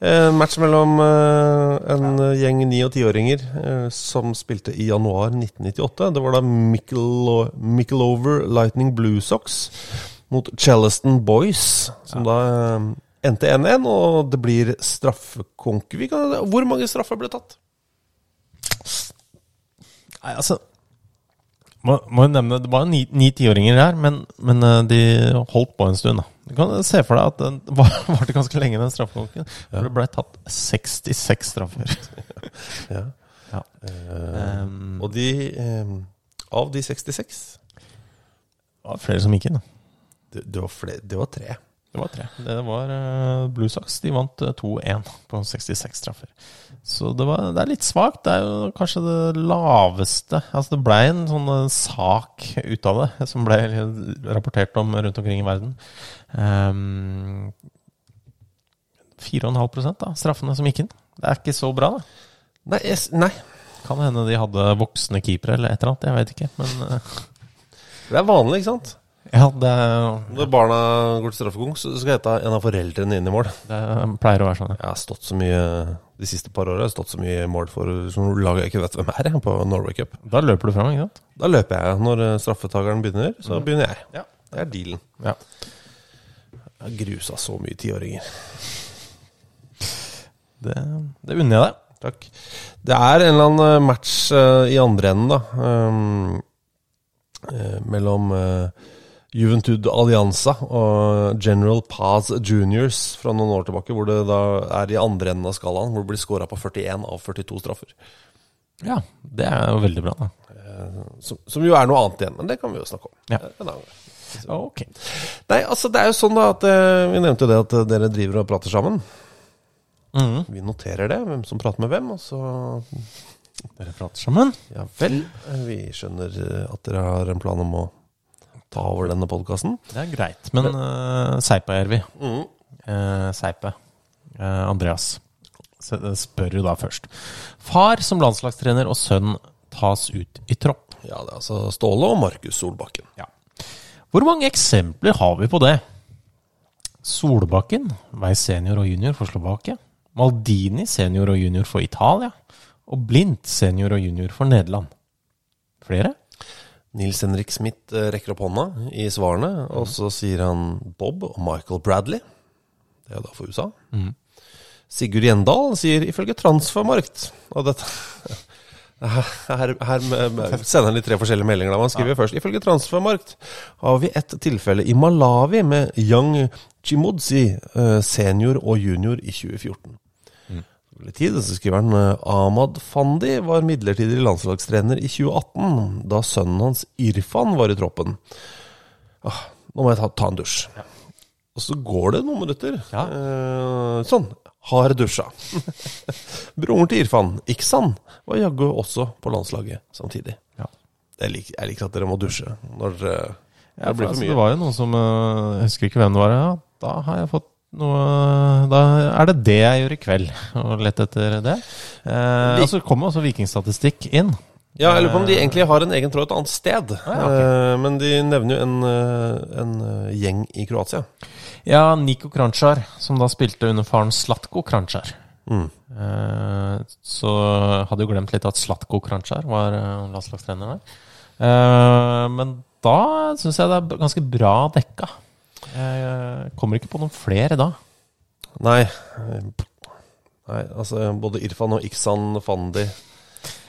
B: En match mellom eh, en eh, gjeng ni- og tiåringer eh, som spilte i januar 1998. Det var da Michel- Michelover Lightning Blue Sox mot Charleston Boys, som da eh, endte 1-1. Og det blir straffekonk. Vi kan- Hvor mange straffer ble tatt?
C: Nei, altså Må, må jo nevne Det var jo ni- ni tiåringer her, men, men eh, de holdt på en stund, da. Du kan se for deg at den [LAUGHS] var- varte ganske lenge, den straffekonken. For det ble tatt 66 straffer.
B: [LAUGHS] Ja. Eh,
C: Ja. Ehm,
B: Og de eh, Av de 66
C: det var flere som gikk inn, da.
B: Det, det, var, flere, det var tre.
C: Det var tre. Det var eh, Blue Sox. De vant eh, 2-1 på 66 straffer. Så det, var, det er litt svakt. Det er jo kanskje det laveste Altså Det blei en sånn eh, sak ut av det, som ble rapportert om rundt omkring i verden. Um, 4,5 da, straffene som gikk inn. Det er ikke så bra, da.
B: Nei, jeg, s- nei,
C: Kan hende de hadde voksne keepere eller et eller annet, jeg vet ikke. Men eh, [LAUGHS]
B: det er vanlig, ikke sant?
C: ja, det,
B: Når barna går til straffekonk, så skal jeg ta en av foreldrene inn i mål.
C: det pleier å være sånn. ja.
B: Jeg har stått så mye de siste par åra. Stått så mye i mål for som lag jeg ikke vet hvem er, jeg, på Norway Cup.
C: Da løper du fram, ikke sant?
B: Da løper jeg. Når eh, straffetakeren begynner, så begynner jeg. Det er dealen.
C: Ja.
B: Jeg har grusa så mye tiåringer.
C: Det, det unner jeg deg.
B: Takk. Det er en eller annen eh, match eh, i andre enden, da. Um, eh, mellom eh, Juventud Allianza og General Paz Juniors fra noen år tilbake, hvor det da er i andre enden av skalaen, hvor det blir skåra på 41 av 42 straffer.
C: Ja, det er jo veldig bra, da.
B: Som, som jo er noe annet igjen, men det kan vi jo snakke om. Eh,
C: Ja.
B: En annen gang.
C: Ok.
B: Nei, altså det er jo sånn da at eh, Vi nevnte jo det at eh, dere driver og prater sammen.
C: Mhm.
B: Vi noterer det, hvem som prater med hvem. Og så
C: Dere prater sammen.
B: ja vel, eh, vi skjønner eh, at dere har en plan om å ta over denne podkasten.
C: Det er greit. Men uh, Seipajärvi Eh, Seipe. Eh, Andreas. Se- eh, Spør jo da først. Far som landslagstrener og sønn tas ut i tropp.
B: Ja, det er altså Ståle og Markus Solbakken.
C: Ja. Hvor mange eksempler har vi på det? Solbakken, vei senior og junior for Slovakia. Maldini senior og junior for Italia. Og Blindt senior og junior for Nederland. Flere?
B: Nils Henrik Smith eh, rekker opp hånda i svarene, og så sier han Bob og Michael Bradley. Det er da for USA. Sigurd Gjendal sier ifølge Transfermarkt og dette, [LAUGHS] her, her, her eh, sender han litt tre forskjellige meldinger. Da. men Han skriver først ifølge Transfermarkt har vi et tilfelle i Malawi med Young Chimodzi, eh, senior og junior, i 2014 overskuelig tid. Så skriver han eh, Ahmad Fandi var midlertidig landslagstrener i 2018, da sønnen hans Irfan var i troppen. Ah, nå må jeg ta, ta en dusj. Og så går det noen minutter. Eh, sånn. Har dusja. [LAUGHS] Broren til Irfan, Iksan, var jaggu også på landslaget samtidig.
C: Ja.
B: Jeg, liker, jeg liker at dere må dusje når eh, det
C: Ja, for
B: blir for
C: altså,
B: mye.
C: det var jo noen som øh, Jeg husker ikke hvem det var. Ja, da har jeg fått noe Da er det det jeg gjør i kveld. [LAUGHS] Og lett etter det. Eh,
B: Vi-
C: og så kommer også vikingstatistikk inn.
B: Ja, jeg lurer på om de egentlig har en egen tråd et annet sted.
C: Ah, ja, ok.
B: Eh, Men de nevner jo en, eh, en eh, gjeng i Kroatia.
C: Ja, Niko Kranjčar, som da spilte under faren Slatko Kranjčar. Eh, så hadde jo glemt litt at Slatko Kranjčar var eh, landslagstrener der. Eh, men da syns jeg det er b- ganske bra dekka. Jeg eh, kommer ikke på noen flere da.
B: Nei. eh, Nei, altså både Irfan og Iksan Fandi,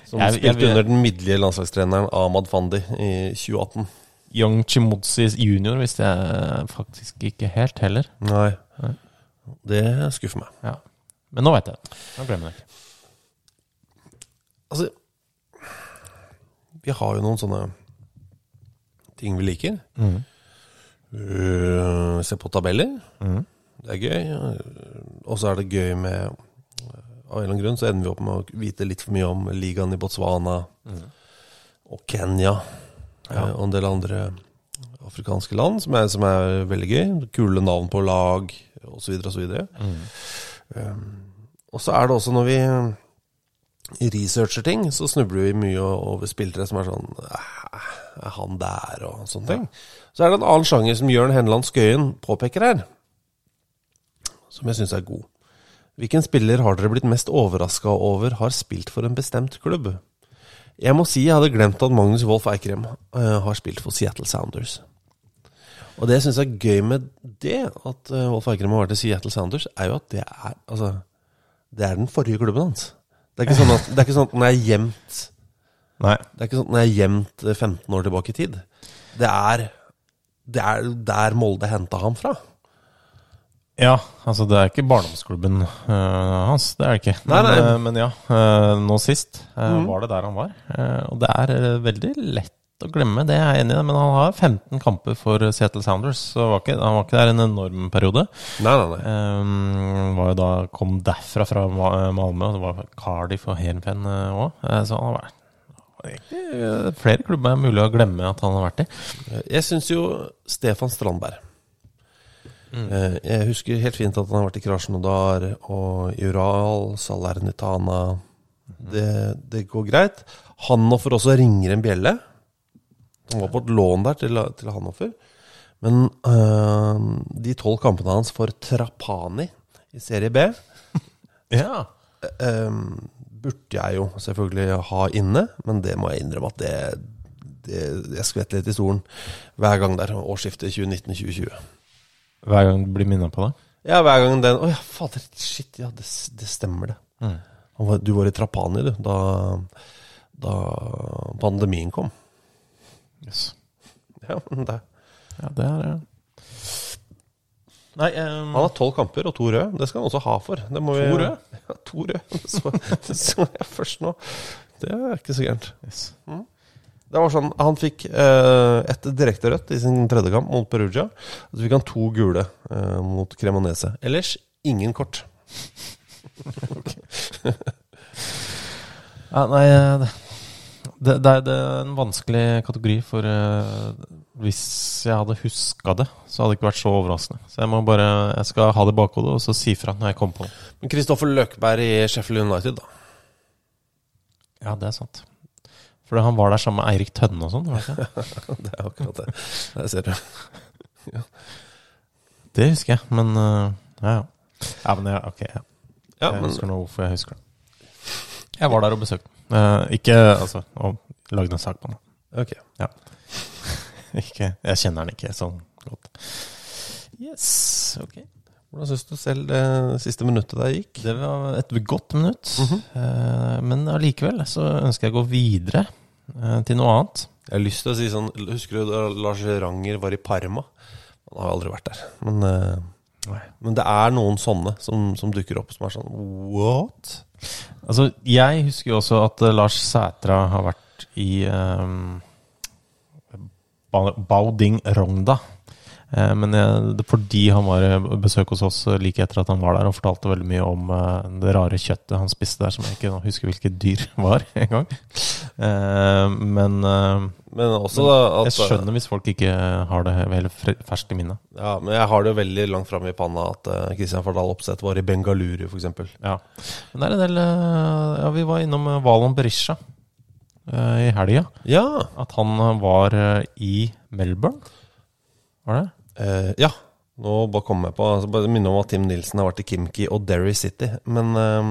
B: som
C: Jeg- jeg
B: spilte
C: vil-
B: under den middelige landslagstreneren Ahmad Fandi i 2018.
C: Young Chimotsi junior visste jeg faktisk ikke helt heller.
B: Nei. Det skuffer meg.
C: Ja. Men nå veit jeg det. Nå glemmer jeg det.
B: Altså Vi har jo noen sånne ting vi liker. Uh, se på tabeller. Det er gøy. Uh, Og så er det gøy med eh, Av en eller annen grunn så ender vi opp med å vite litt for mye om ligaen i Botswana og Kenya uh, og en del andre afrikanske land, som er, som er veldig gøy. Kule navn på lag osv. osv. Mm. Um, og så er det også når vi researcher ting, så snubler vi mye over spillere som er sånn «Æh, Er han der? og sånne ting. Så er det en annen sjanger som Jørn Henland Skøyen påpeker her, som jeg syns er god. Hvilken spiller har dere blitt mest overraska over har spilt for en bestemt klubb? Jeg må si jeg hadde glemt at Magnus Wolff Eikrem eh, har spilt for Seattle Sounders. Og det jeg syns er gøy med det, at eh, Wolff Eikrem har vært i Seattle Sounders, er jo at det er altså, det er den forrige klubben hans. Det er ikke sånn at, det er ikke sånn at den er gjemt
C: Nei.
B: Det er ikke sånn at den er gjemt eh, 15 år tilbake i tid. Det er, det er der Molde henta ham fra.
C: Ja, altså det er ikke barndomsklubben øh, hans, det er det ikke. Men,
B: Nei, Mm. nei.
C: øh, men ja, øh, nå sist øh, var det der han var. Eh, og det er øh, veldig lett å glemme, det er jeg enig i. Men han har 15 kamper for Seattle Sounders, så var ikke, han var ikke der en enorm periode.
B: Nei, nei, nei.
C: Um, var jo da, kom derfra fra Ma- Malmö, og det var Cardiff og Heerenveen òg. så han har vært det er egentlig eh, flere klubber er mulig å glemme at han har vært i.
B: Jeg syns jo Stefan Strandberg Eh, Jeg husker helt fint at han har vært i Krasjnodar og i Ural, Salernitana det, det går greit. Hanoffer også ringer en bjelle. Han var på et lån der til, til Hanoffer. Men eh, de tolv kampene hans for Trapani i serie B
C: Ja.
B: Ehm, burde jeg jo selvfølgelig ha inne, men det må jeg innrømme at det, det Jeg skvetter litt i stolen hver gang der. Årsskiftet 2019-2020.
C: Hver gang du blir minna på det.
B: Ja, hver gang den Å ja, fader, shit, ja, det, det stemmer, det. Han var- Du var i Trapani, du, da, da pandemien kom. Ja, [LAUGHS] men det.
C: Ja, det er eh. Nei ehm,
B: Han har tolv kamper og to røde. Det skal han også ha for. Det må vi,
C: To røde?
B: [LAUGHS] Ja, to røde. Det Så, [LAUGHS] det så jeg først nå. Det er ikke så gærent. Mm.
C: yes.
B: Det var sånn, Han fikk eh, ett direkte rødt i sin tredje kamp mot Perugia. Og så fikk han to gule eh, mot Cremonese. Ellers ingen kort.
C: ja, Nei, eh, det, det, det, er, det er en vanskelig kategori, for eh, hvis jeg hadde huska det, så hadde det ikke vært så overraskende. Så jeg må bare, jeg skal ha det i bakhodet, og så si fra når jeg kommer på det.
B: Men Kristoffer Løkberg i Sheffield United, da.
C: Ja, det er sant. For han var der sammen med Eirik Tønne og sånn. var det ikke?
B: Det er akkurat det. Der ser du.
C: Det husker jeg, men øh, ja, ja. Ja, men ja, ok. Ja.
B: Ja,
C: jeg
B: men
C: husker nå hvorfor jeg husker det. Jeg var der og besøkte den. Eh, ikke altså, og lagde en sak på den.
B: ok.
C: [LAUGHS] Ikke, jeg kjenner den ikke sånn godt. Yes, ok.
B: Hvordan syns du selv det siste minuttet der gikk? Mhm.
C: Det var et godt minutt. Eh, men allikevel så ønsker jeg å gå videre eh, til noe annet.
B: Jeg har lyst til å si sånn Husker du da Lars Ranger var i Parma? Han har jo aldri vært der. Men, eh, men det er noen sånne som, som dukker opp, som er sånn What?
C: Altså, jeg husker jo også at eh, Lars Sætra har vært i um, Bauding Rogda. Eh, Men jeg, det er fordi han var i besøk hos oss eh, like etter at han var der, og fortalte veldig mye om eh, det rare kjøttet han spiste der, som jeg ikke husker hvilket dyr [LAUGHS] var engang. Eh, Men eh,
B: Men også da at,
C: jeg skjønner hvis folk ikke har det helt fre- ferskt i minnet.
B: Ja, men jeg har det jo veldig langt framme i panna at eh, Christian Fardal Opseth var i Bengaluru, f.eks.
C: Ja. Men det er en del eh, Ja, vi var innom eh, Valon Berisha eh, i helga.
B: Ja.
C: At han eh, var eh, i Melbourne. Var det?
B: Eh, ja. Nå bare kom jeg på altså Bare minne om at Tim Nilsen har vært i Kimki og Derry City, men eh,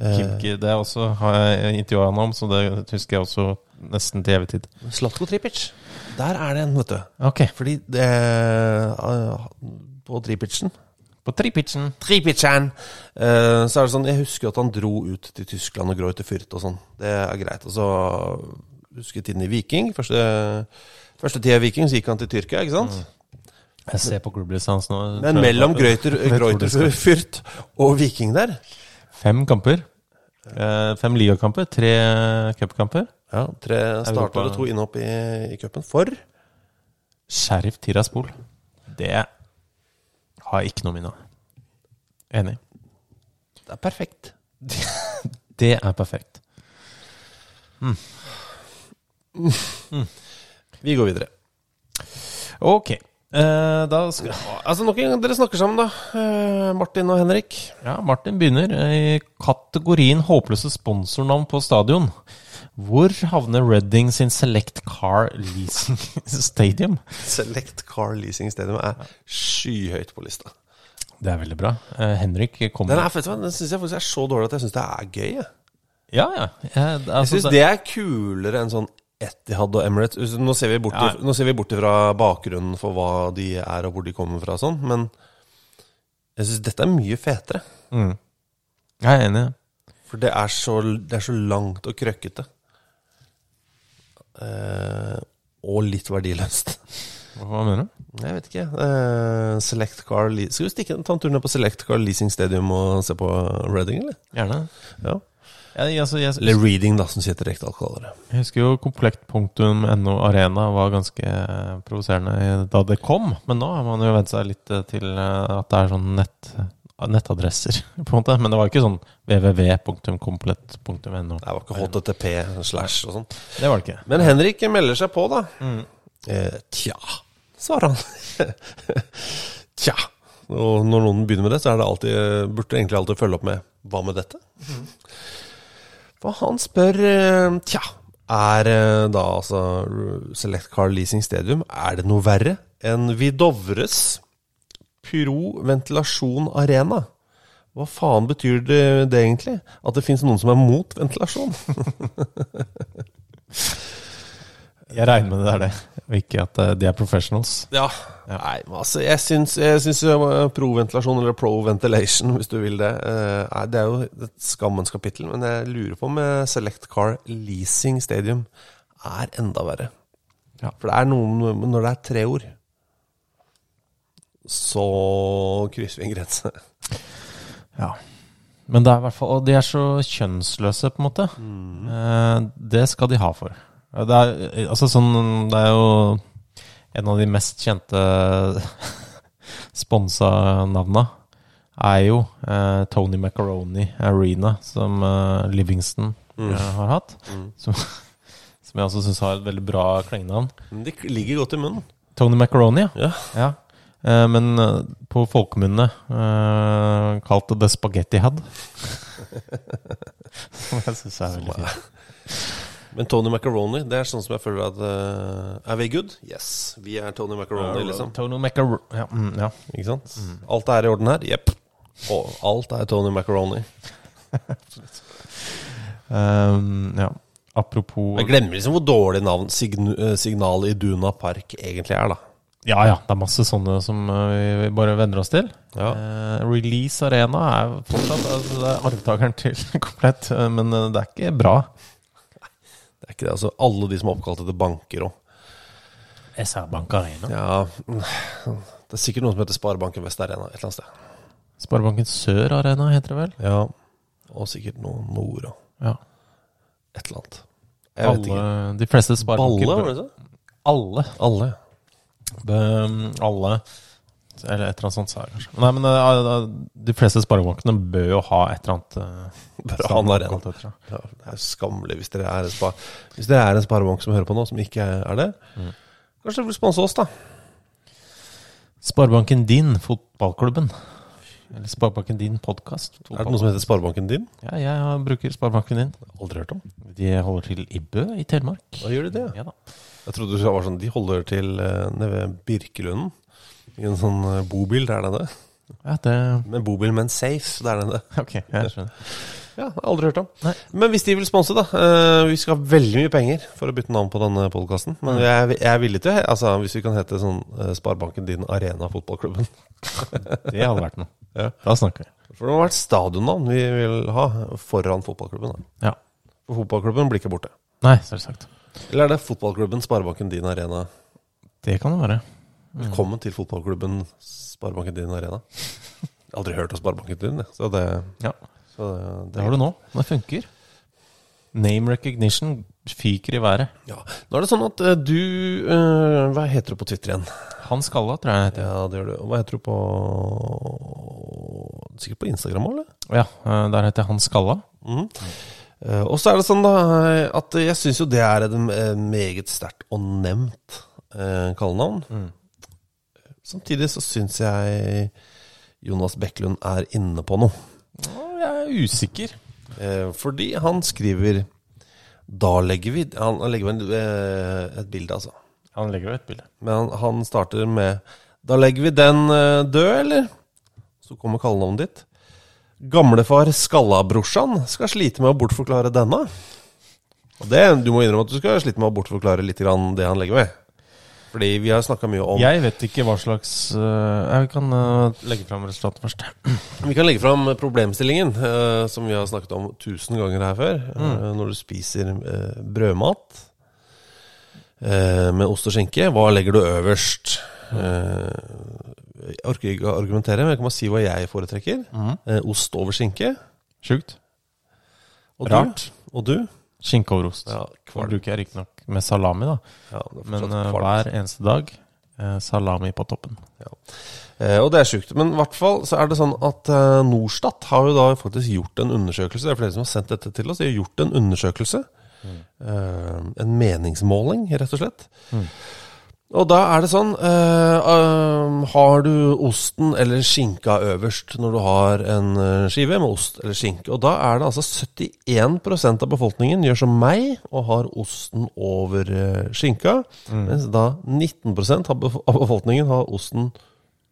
B: eh,
C: Kimki, det er også har jeg intervjua han om, så det husker jeg også nesten til evig tid.
B: Slatko Tripic. Der er det en, vet du.
C: Ok.
B: Fordi det eh, På Tripicen
C: På tripitchen.
B: Tripicen! Eh, så er det sånn Jeg husker at han dro ut til Tyskland og Greuter Fürth og sånn. Det er greit. Og så husker jeg tiden i Viking. Første, første tida i Viking, så gikk han til Tyrkia, ikke sant?
C: Jeg ser på klubblyset hans nå.
B: Men mellom Greuter,
C: Jeg tror
B: Greuter
C: det skal-
B: Fürth og Viking der
C: Fem kamper. Eh, Fem ligakamper, tre eh, cupkamper.
B: Ja, tre
C: Europa.
B: starter og to innhopp i, i cupen for
C: Sheriff Tiraspol. Det har jeg ikke noe minne av. Enig.
B: Det er perfekt.
C: Det er perfekt.
B: Vi går videre.
C: Ok. Eh, da skal
B: Altså Nok en gang, dere snakker sammen, da. Eh, Martin og Henrik.
C: Ja, Martin begynner eh, i kategorien håpløse sponsornavn på stadion. Hvor havner Redding sin Select Car Leasing [LAUGHS] Stadium?
B: Select Car Leasing Stadium er skyhøyt på lista.
C: Det er veldig bra. Eh, Henrik
B: Den,
C: kommer
B: er, vet du hva, den syns jeg faktisk er så dårlig at jeg syns det er gøy. Jeg,
C: Ja, ja. Eh,
B: jeg
C: altså,
B: syns
C: det,
B: det er kulere enn sånn Etihad og Emirates. Hvis- Nå ser vi bort,
C: Ja.
B: nå ser vi bort fra bakgrunnen for hva de er og hvor de kommer fra og sånn, men jeg syns dette er mye fetere.
C: jeg er enig.
B: For det er så, det er så langt og krøkkete. Eh, og litt verdiløst.
C: Hva mener du?
B: Jeg vet ikke. eh, Select Car Le Skal vi stikke, ta en tur ned på Select Car Leasing Stadium og se på Reading, eller?
C: Gjerne.
B: Ja.
C: Jeg, altså, jeg,
B: Eller Reading, da, som sitter direkte alkoholere.
C: Jeg husker jo komplekt.no arena var ganske eh, provoserende i- da det kom, men nå har man jo vent seg litt eh, til eh, at det er sånn nett, nettadresser, [LAUGHS] på en måte. Men det var ikke sånn www.komplett.no.
B: Det var ikke HTTP slash og sånn.
C: Det var det ikke.
B: Men Henrik melder seg på, da. Eh, tja, svarer han. [LAUGHS] tja. Og når noen begynner med det, så er det alltid, burde du egentlig alltid følge opp med 'hva med dette'? For han spør eh, Tja, er eh, da altså Select Car Leasing Stadium Er det noe verre enn Vidovres Pyro Ventilasjon Arena? Hva faen betyr det, det egentlig? At det finnes noen som er mot ventilasjon?
C: Jeg regner med det er det, og ikke at eh, de er professionals.
B: Ja. Nei, men altså, jeg syns, jeg syns jo, eh, proventilasjon, eller pro-ventilation, [LAUGHS] hvis du vil det eh, er- Det er jo et skammens kapittel, men jeg lurer på om eh, Select Car Leasing Stadium er enda verre.
C: Ja.
B: For det er noe med- Når det er tre ord, så krysser vi en grense.
C: Ja. Men det er i hvert fall Og de er så kjønnsløse, på en måte. Eh, det skal de ha for. Eh, Det er, eh, altså, sånn, det er jo en av de mest kjente [LAUGHS] sponsa navna er jo eh, Tony Macaroni Arena, som eh, Livingston eh, har hatt. Som, [LAUGHS] som jeg også syns har et veldig bra klengenavn.
B: [LAUGHS] Men det ligger godt i munnen.
C: Tony Macaroni, ja.
B: Ja.
C: Ja. Eh, Men eh, på folkemunne eh, kalt det The
B: [LAUGHS]
C: Spaghetti Had. Som jeg syns er veldig fint.
B: Men Tony Macaroni, det er sånn som jeg føler at eh, Er vi good? Yes. Vi er Tony Macaroni, liksom.
C: Tony Macar... Ja, mm, ja.
B: Ikke sant? Alt er i orden her? Jepp. Og alt er Tony Macaroni.
C: Ehm, ja. Apropos
B: Jeg glemmer liksom hvor dårlig navn sign eh, Signal i Duna Park egentlig er, da.
C: Ja, ja. Det er masse sånne som eh, vi bare venner oss til. Eh, Release Arena er fortsatt altså, det er arvtakeren til [LAUGHS] komplett, eh, men eh, det er ikke bra.
B: Det er ikke det, altså Alle de som er oppkalt etter banker òg.
C: SR Bank Arena.
B: Ja, det er sikkert noen som heter Sparebanken Vest Arena et eller annet sted.
C: Sparebanken Sør Arena heter det vel?
B: Ja, Og sikkert noe Nord og
C: Ja.
B: et eller annet. Jeg vet
C: Alle,
B: ikke.
C: de fleste sparebanker
B: Balle, var det det?
C: Alle.
B: Alle.
C: Ehm, alle Eller et eller annet sånt sa jeg kanskje. Nei, men eh, de fleste sparebankene bør jo ha et eller annet eh, et
B: Bør
C: eller
B: ha en
C: annet
B: arena.
C: kalt etter det.
B: Ja, det er skammelig hvis dere er en, spa, hvis dere er en sparebank som hører på nå, som ikke er det. Kanskje dere vil sponse oss, da.
C: Sparebanken din, fotballklubben. Eller Sparebanken din podkast.
B: Er det noe som heter Sparebanken din?
C: Ja, jeg har- bruker Sparebanken din.
B: Aldri hørt om.
C: De holder til i Bø i Telemark.
B: Da gjør de det.
C: Ja da.
B: Jeg trodde det var sånn De holder til eh, nede ved Birkelunden. I en sånn eh, bobil der nede.
C: Ja, det [LAUGHS]
B: Men bobil, men safe der nede.
C: Ok, jeg skjønner.
B: Ja, aldri hørt om.
C: Nei.
B: Men hvis de vil sponse, da. eh, vi skal ha veldig mye penger for å bytte navn på denne podkasten. Men jeg, er- jeg er villig til å he- altså, Hvis vi kan hete sånn eh, Sparebanken din Arena Fotballklubben. [LAUGHS]
C: Det hadde vært noe.
B: Ja.
C: Da snakker vi.
B: For det må være et stadionnavn vi vil ha foran fotballklubben. Da.
C: Ja.
B: For fotballklubben blir ikke borte.
C: Nei, selvsagt.
B: Eller er det fotballklubben Sparebanken din Arena?
C: Det kan det være.
B: Velkommen til fotballklubben Sparebanken din Arena. Jeg har Aldri hørt om Sparebanken din, jeg. så det,
C: Ja,
B: så det,
C: Det har du nå. Det funker. Name recognition fyker i været.
B: Ja. Nå er det sånn at eh, du eh, Hva heter du på Twitter igjen?
C: Han skalla, tror jeg det heter.
B: Ja, det gjør du. Og Hva heter du på Sikkert på Instagram òg, eller?
C: Ja, eh, der heter han Skalla.
B: Eh, og så er det sånn da eh, at jeg syns jo det er et eh, meget sterkt og nevnt eh, kallenavn. Samtidig så syns jeg Jonas Bekkelund er inne på noe.
C: Å, Jeg er usikker.
B: Eh, fordi han skriver Da legger vi Han han legger ved eh, et bilde, altså.
C: Han legger jo et bilde.
B: Men han, han starter med Da legger vi den eh, død, eller? Så kommer kallenavnet ditt. Gamlefar Skallabrorsan skal slite med å bortforklare denne. Og det, Du må innrømme at du skal slite med å bortforklare litt grann det han legger med. Fordi vi har snakka mye om
C: Jeg vet ikke hva slags eh, Jeg kan eh, legge fram resultatet først. [CLEARS THROAT]
B: Vi kan legge fram problemstillingen eh, som vi har snakket om tusen ganger her før.
C: Mm.
B: Eh, når du spiser eh, brødmat eh, med ost og skinke, hva legger du øverst? Eh, jeg orker ikke å argumentere, men jeg kan bare si hva jeg foretrekker.
C: Mm.
B: Eh, ost over skinke.
C: Sjukt.
B: Og
C: Rart.
B: du? Og du?
C: Skinke over ost.
B: Ja,
C: Nå
B: kvalm.
C: bruker jeg riktignok med salami, da.
B: Ja, det er
C: Men
B: fortsatt
C: eh,
B: kvalm.
C: hver eneste dag eh, salami på toppen.
B: Eh, Og det er sjukt. Men i hvert fall så er det sånn at eh, Norstat har jo da faktisk gjort en undersøkelse. Det er flere som har sendt dette til oss. De har gjort en undersøkelse. Eh, en meningsmåling, rett og slett. Og da er det sånn eh, eh, Har du osten eller skinka øverst når du har en eh, skive med ost eller skinke? Og da er det altså 71 av befolkningen gjør som meg og har osten over eh, skinka. Mens da 19 av bef- av befolkningen har osten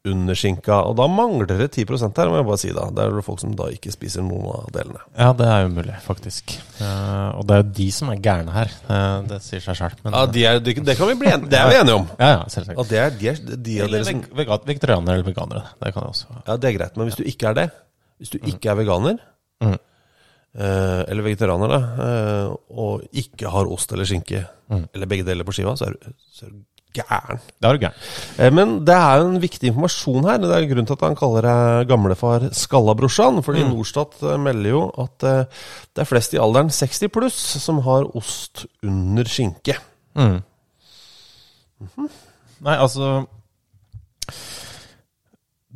B: under skinka. Og da mangler det 10 her, må jeg bare si. da Det er det folk som da ikke spiser noen av delene.
C: Ja, det er umulig, faktisk. Eh, og det er jo de som er gærne her. Eh, det sier seg sjøl.
B: Ja, de er, det, det kan vi bli enige, det er vi enige om.
C: ja, ja, selvsagt.
B: At det er de, er, de av
C: Eller
B: dere som
C: veg- vegan- Vegetarianere eller veganere. Det kan jeg også.
B: Ja, det er greit, men hvis du ikke er det Hvis du ikke er veganer Mm.
C: Mhm.
B: eh, Eller vegetarianer da eh, Og ikke har ost eller skinke Eller begge deler på skiva Så er du, så er du gæren
C: Det er du gæren.
B: Eh, Men det er jo en viktig informasjon her. Det er grunnen til at han kaller deg gamlefar Skallabrorsan. Fordi Norstat eh, melder jo at eh, det er flest i alderen 60 pluss som har ost under skinke.
C: Mm. Mhm. Nei, altså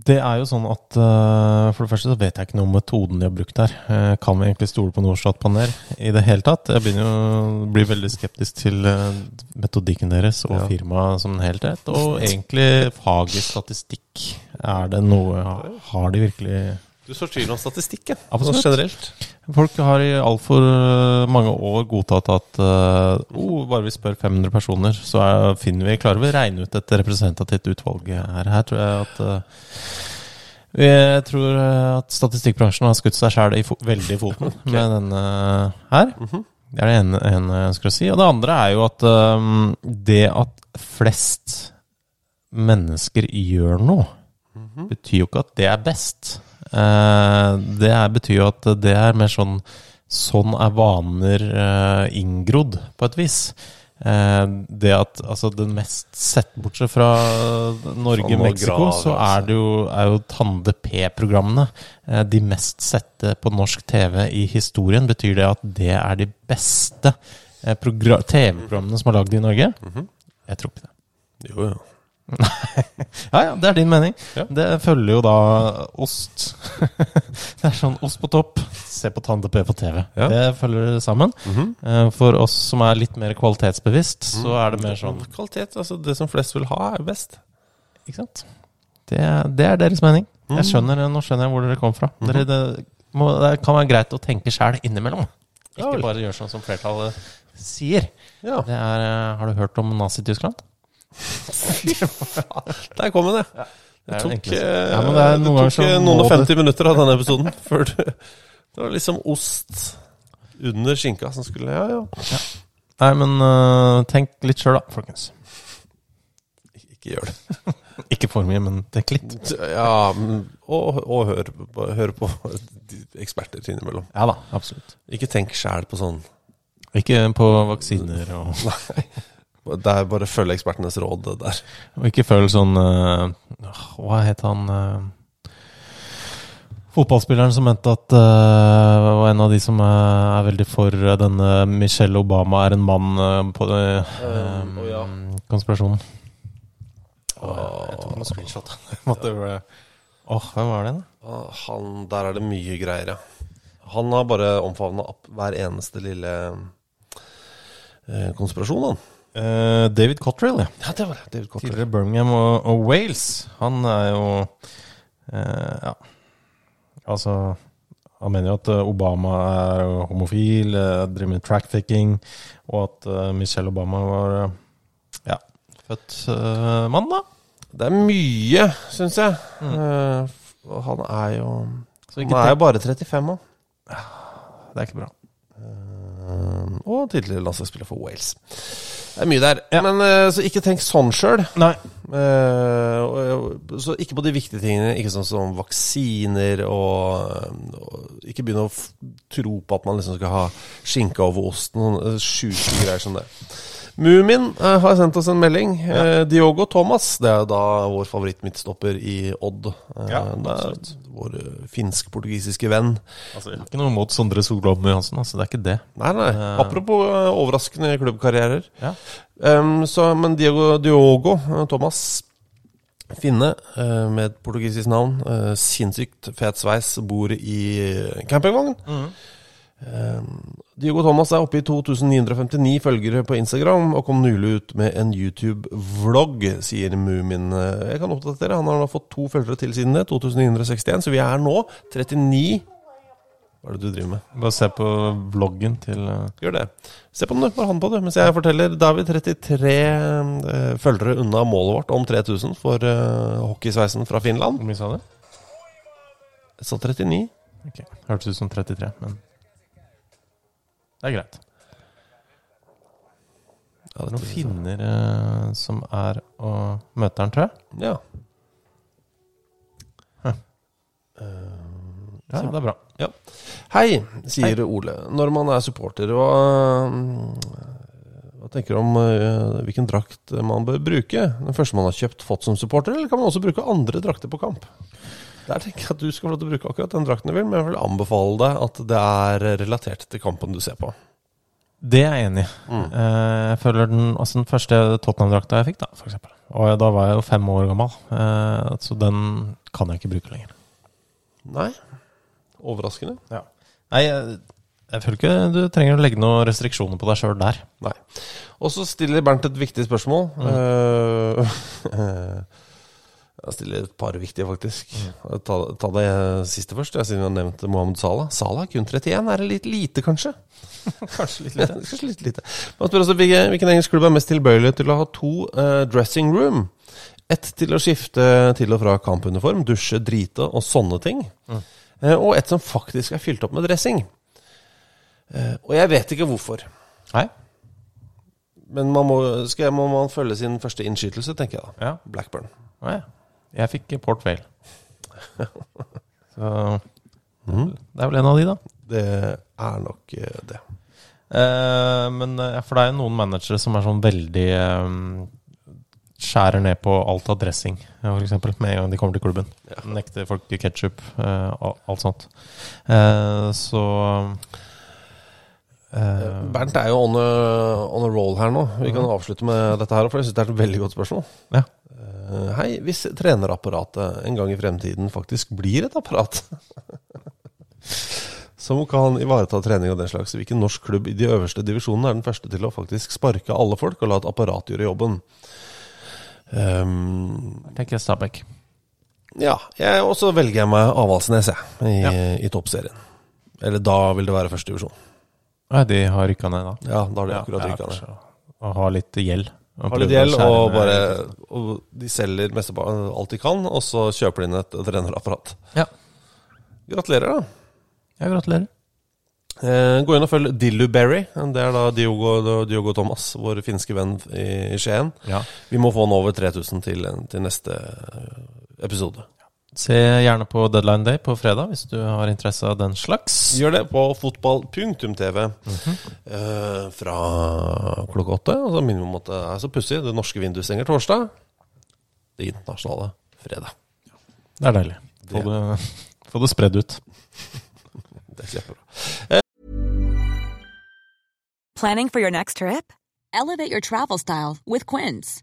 C: Det er jo sånn at eh, For det første så vet jeg ikke noe om metoden de har brukt her. Eh, kan vi egentlig stole på Norstat-panel i det hele tatt? Jeg begynner jo å bli veldig skeptisk til eh, metodikken deres og
B: Ja.
C: firmaet som en helhet. Og egentlig faget statistikk. Er det noe Har de virkelig
B: Du sår tvil om statistikken
C: Absolutt.
B: sånn generelt.
C: Folk har i altfor mange år godtatt at eh, oh, bare vi spør 500 personer, så er, finner vi, klarer vi å regne ut et representativt utvalg her. Her tror jeg at eh, jeg tror eh, at statistikkbransjen har skutt seg sjæl fo veldig i foten med denne her. Det er det ene, ene jeg ønsker å si. Og det andre er jo at eh, det at flest mennesker gjør noe, betyr jo ikke at det er best. Eh, det er, betyr jo at det er mer sånn Sånn er vaner eh, inngrodd, på et vis. Eh, det at altså den mest sett bortsett fra
B: Faen,
C: Norge,
B: nå
C: Mexico,
B: graver
C: så
B: altså.
C: er det jo, er jo Tande P-programmene eh, de mest sette på norsk TV i historien. Betyr det at det er de beste eh, progra- TV-programmene som er lagd i Norge? Jeg tror ikke det.
B: Jo, jo.
C: [LAUGHS] Ja, ja, det er din mening.
B: Ja.
C: Det følger jo da ost. [LAUGHS] det er sånn ost på topp, se på Tande P på TV.
B: Ja. Mhm.
C: Det følger sammen. Eh, For oss som er litt mer kvalitetsbevisst, så er det mer sånn
B: Kvalitet, altså Mhm. det som flest vil ha, er best.
C: Ikke sant? Det, det er deres mening. Jeg
B: Mhm.
C: skjønner, Nå skjønner jeg hvor dere kom fra. Dere, det, må, det kan være greit å tenke sjæl innimellom.
B: Ja
C: Ikke
B: vel.
C: bare gjøre sånn som flertallet sier.
B: Ja.
C: Det er, eh, har du hørt om Nazi-Tyskland?
B: [LAUGHS] Der kom den, ja. Det
C: Det er jo
B: tok,
C: egentlig-
B: eh,
C: Ja, men det er
B: det
C: noen ganger
B: tok eh,
C: så
B: noen og
C: må det-
B: 50 minutter av denne episoden [LAUGHS] før du Det var liksom ost under skinka som skulle Ja, ja.
C: Nei, men eh, tenk litt sjøl da, folkens.
B: Ikke gjør det.
C: Ikke for mye, men tenk litt.
B: Ja, men- og, og hør, på- hør på eksperter innimellom.
C: Ja da, absolutt.
B: Ikke tenk sjæl på sånn.
C: Ikke på vaksiner,
B: [LAUGHS]
C: og,
B: Det er bare følge ekspertenes råd det der.
C: og ikke føl sånn eh, åh, Hva het han eh, Fotballspilleren som mente at eh, var en av de som eh, er veldig for eh, denne Michelle Obama er en mann eh, på eh,
B: Eh, å ja.
C: konspirasjonen. Åh, jeg tok noen screenshot. [LAUGHS] Måtte jo, eh, Åh, hvem var det igjen? da?
B: Ah, Han, der er det mye greier, ja. Han har bare omfavna opp hver eneste lille eh, konspirasjon, han.
C: Eh, David Cottrell, ja.
B: Ja, det var det. David Cottrell.
C: Tidligere Birmingham og, og Wales. Han er jo eh, Ja. Altså Han mener jo at eh, Obama er jo homofil, eh, driver med trackficking, og at eh, Michelle Obama var eh, ja, født eh, mann, da.
B: Det er mye, syns jeg. Eh, f- og han er jo
C: Så
B: Han
C: ikke
B: er jo
C: tenk-
B: bare 35 òg.
C: Det er ikke bra.
B: Eh, og tidligere landslagsspiller for Wales. Det er mye der. Men eh, så ikke tenk sånn Eh, sjøl.
C: Nei.
B: så ikke på de viktige tingene, ikke sånn som vaksiner og, eh, og Ikke begynne å f tro på at man liksom skal ha skinke over osten. Sånne eh, sjuke greier som det. Mumin eh, har sendt oss en melding. Eh, Diogo Thomas, det er jo da vår favoritt-midtstopper i Odd. Eh,
C: Ja,
B: det er vår eh, finsk-portugisiske venn.
C: Altså, jeg har ikke noe mot Sondre Solholm Johansen, altså. Det er ikke det.
B: Nei, nei.
C: Eh.
B: Apropos eh, overraskende klubbkarrierer.
C: Ja.
B: Ehm, så, men Diogo, Diogo eh, Thomas Finne eh, med et portugisisk navn. eh, sinnssykt fet sveis, bor i campingvogn.
C: Mm.
B: Ehm, Diogo Thomas er oppe i 2959 følgere på Instagram og kom nylig ut med en YouTube-vlogg, sier Mumin. Eh, Jeg kan oppdatere, han har nå fått to følgere til siden det, 2961, så vi er nå 39 Hva er det du driver med?
C: Bare se på vloggen til eh,
B: Gjør det. Se på den, du. Bare hånd på det. Mens jeg forteller. Da er vi 33 eh, følgere unna målet vårt om 3000 for eh, hockeysveisen fra Finland.
C: Hvor mye sa du?
B: Så 39.
C: Ok, Hørtes ut som 33, men det er greit.
B: Ja,
C: Det er noen finner eh, som er og møter han, tror jeg.
B: Ja. Eh,
C: Ja, det er bra.
B: ja. Hei, sier Ole. Når man er supporter, hva, mm, hva tenker du om eh, hvilken drakt man bør bruke? Den første man har kjøpt, fått som supporter, eller kan man også bruke andre drakter på kamp? Der tenker jeg at du skal få lov til å bruke akkurat den drakten du vil, men jeg vil anbefale deg at det er relatert til kampen du ser på.
C: Det er jeg enig i. Eh, jeg føler den, altså den første Tottenham-drakta jeg fikk, da, for eksempel. Og da var jeg jo fem år gammel, eh, så den kan jeg ikke bruke lenger.
B: Nei. Overraskende.
C: Nei, jeg, jeg føler ikke du trenger å legge noen restriksjoner på deg sjøl der.
B: Nei. Og så stiller Bernt et viktig spørsmål. [LAUGHS] Eh, Jeg stiller et par viktige, faktisk. Ta, ta det siste først, jeg, siden vi har nevnt Mohammed Salah. Salah er kun 31. Er det litt lite, kanskje?
C: [LAUGHS] Kanskje litt
B: Ja,
C: lite.
B: [LAUGHS] Kanskje litt lite. Man spør også hvilke- hvilken engelsk klubb er mest tilbøyelig til å ha to eh, dressing room. Ett til å skifte til og fra kampuniform, dusje, drite og sånne ting. Eh, og ett som faktisk er fylt opp med dressing. Eh, og jeg vet ikke hvorfor.
C: Nei?
B: Men man må, skal, må man følge sin første innskytelse, tenker jeg da.
C: Ja.
B: Blackburn.
C: Å ja. Jeg fikk Port [LAUGHS] Vale. Så det er vel en av de, da.
B: Det er nok eh, det.
C: Eh, men eh, for det er jo noen managere som er sånn veldig eh, Skjærer ned på alt av dressing, eh, for eksempel, med en gang de kommer til klubben. Nekter folk ketsjup, og alt sånt. Eh, så eh,
B: Bernt er jo on a, on a roll her nå. Vi kan avslutte med dette her, for jeg syns det er et veldig godt spørsmål.
C: Ja.
B: Eh, Hei, hvis trenerapparatet en gang i fremtiden faktisk blir et apparat [LAUGHS] som kan ivareta trening og den slags, hvilken norsk klubb i de øverste divisjonene er den første til å faktisk sparke alle folk og la et apparat gjøre jobben? Ehm,
C: tenker jeg Stabæk.
B: ja, jeg og så velger jeg meg Avaldsnes, jeg, i,
C: Ja.
B: i toppserien. Eller da vil det være første divisjon.
C: Nei, de har rykka ned, da.
B: Ja, da har de akkurat rykka ned.
C: kanskje. Og har litt gjeld. Og
B: Har litt
C: prøver å
B: gjeld,
C: skjære
B: og
C: ned
B: bare
C: litt.
B: og De selger mesteparten alt de kan, og så kjøper de inn et trenerapparat.
C: Ja.
B: Gratulerer, da.
C: ja, gratulerer.
B: Eh, gå inn og følg Dillu Berry. Det er da Diogo, Diogo Thomas, vår finske venn i i Skien.
C: Ja.
B: Vi må få han over 3000 til, til neste eh, episode.
C: Se gjerne på Deadline Day på fredag hvis du har interesse av den slags.
B: Gjør det på fotball.tv eh, fra klokka åtte. Altså minimum at det er så pussig. Det norske vinduet stenger torsdag. Det internasjonale fredag. [LAUGHS]
C: Det er deilig. Få det, få det spredd ut.
B: Det er kjempebra.
F: Planning for your next trip? Elevate your travel style with Quince.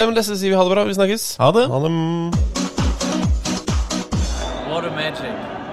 B: Ja, men Lasse sier vi ha det bra. Vi snakkes.
C: Ha det!
B: Ha det.
D: What a magic.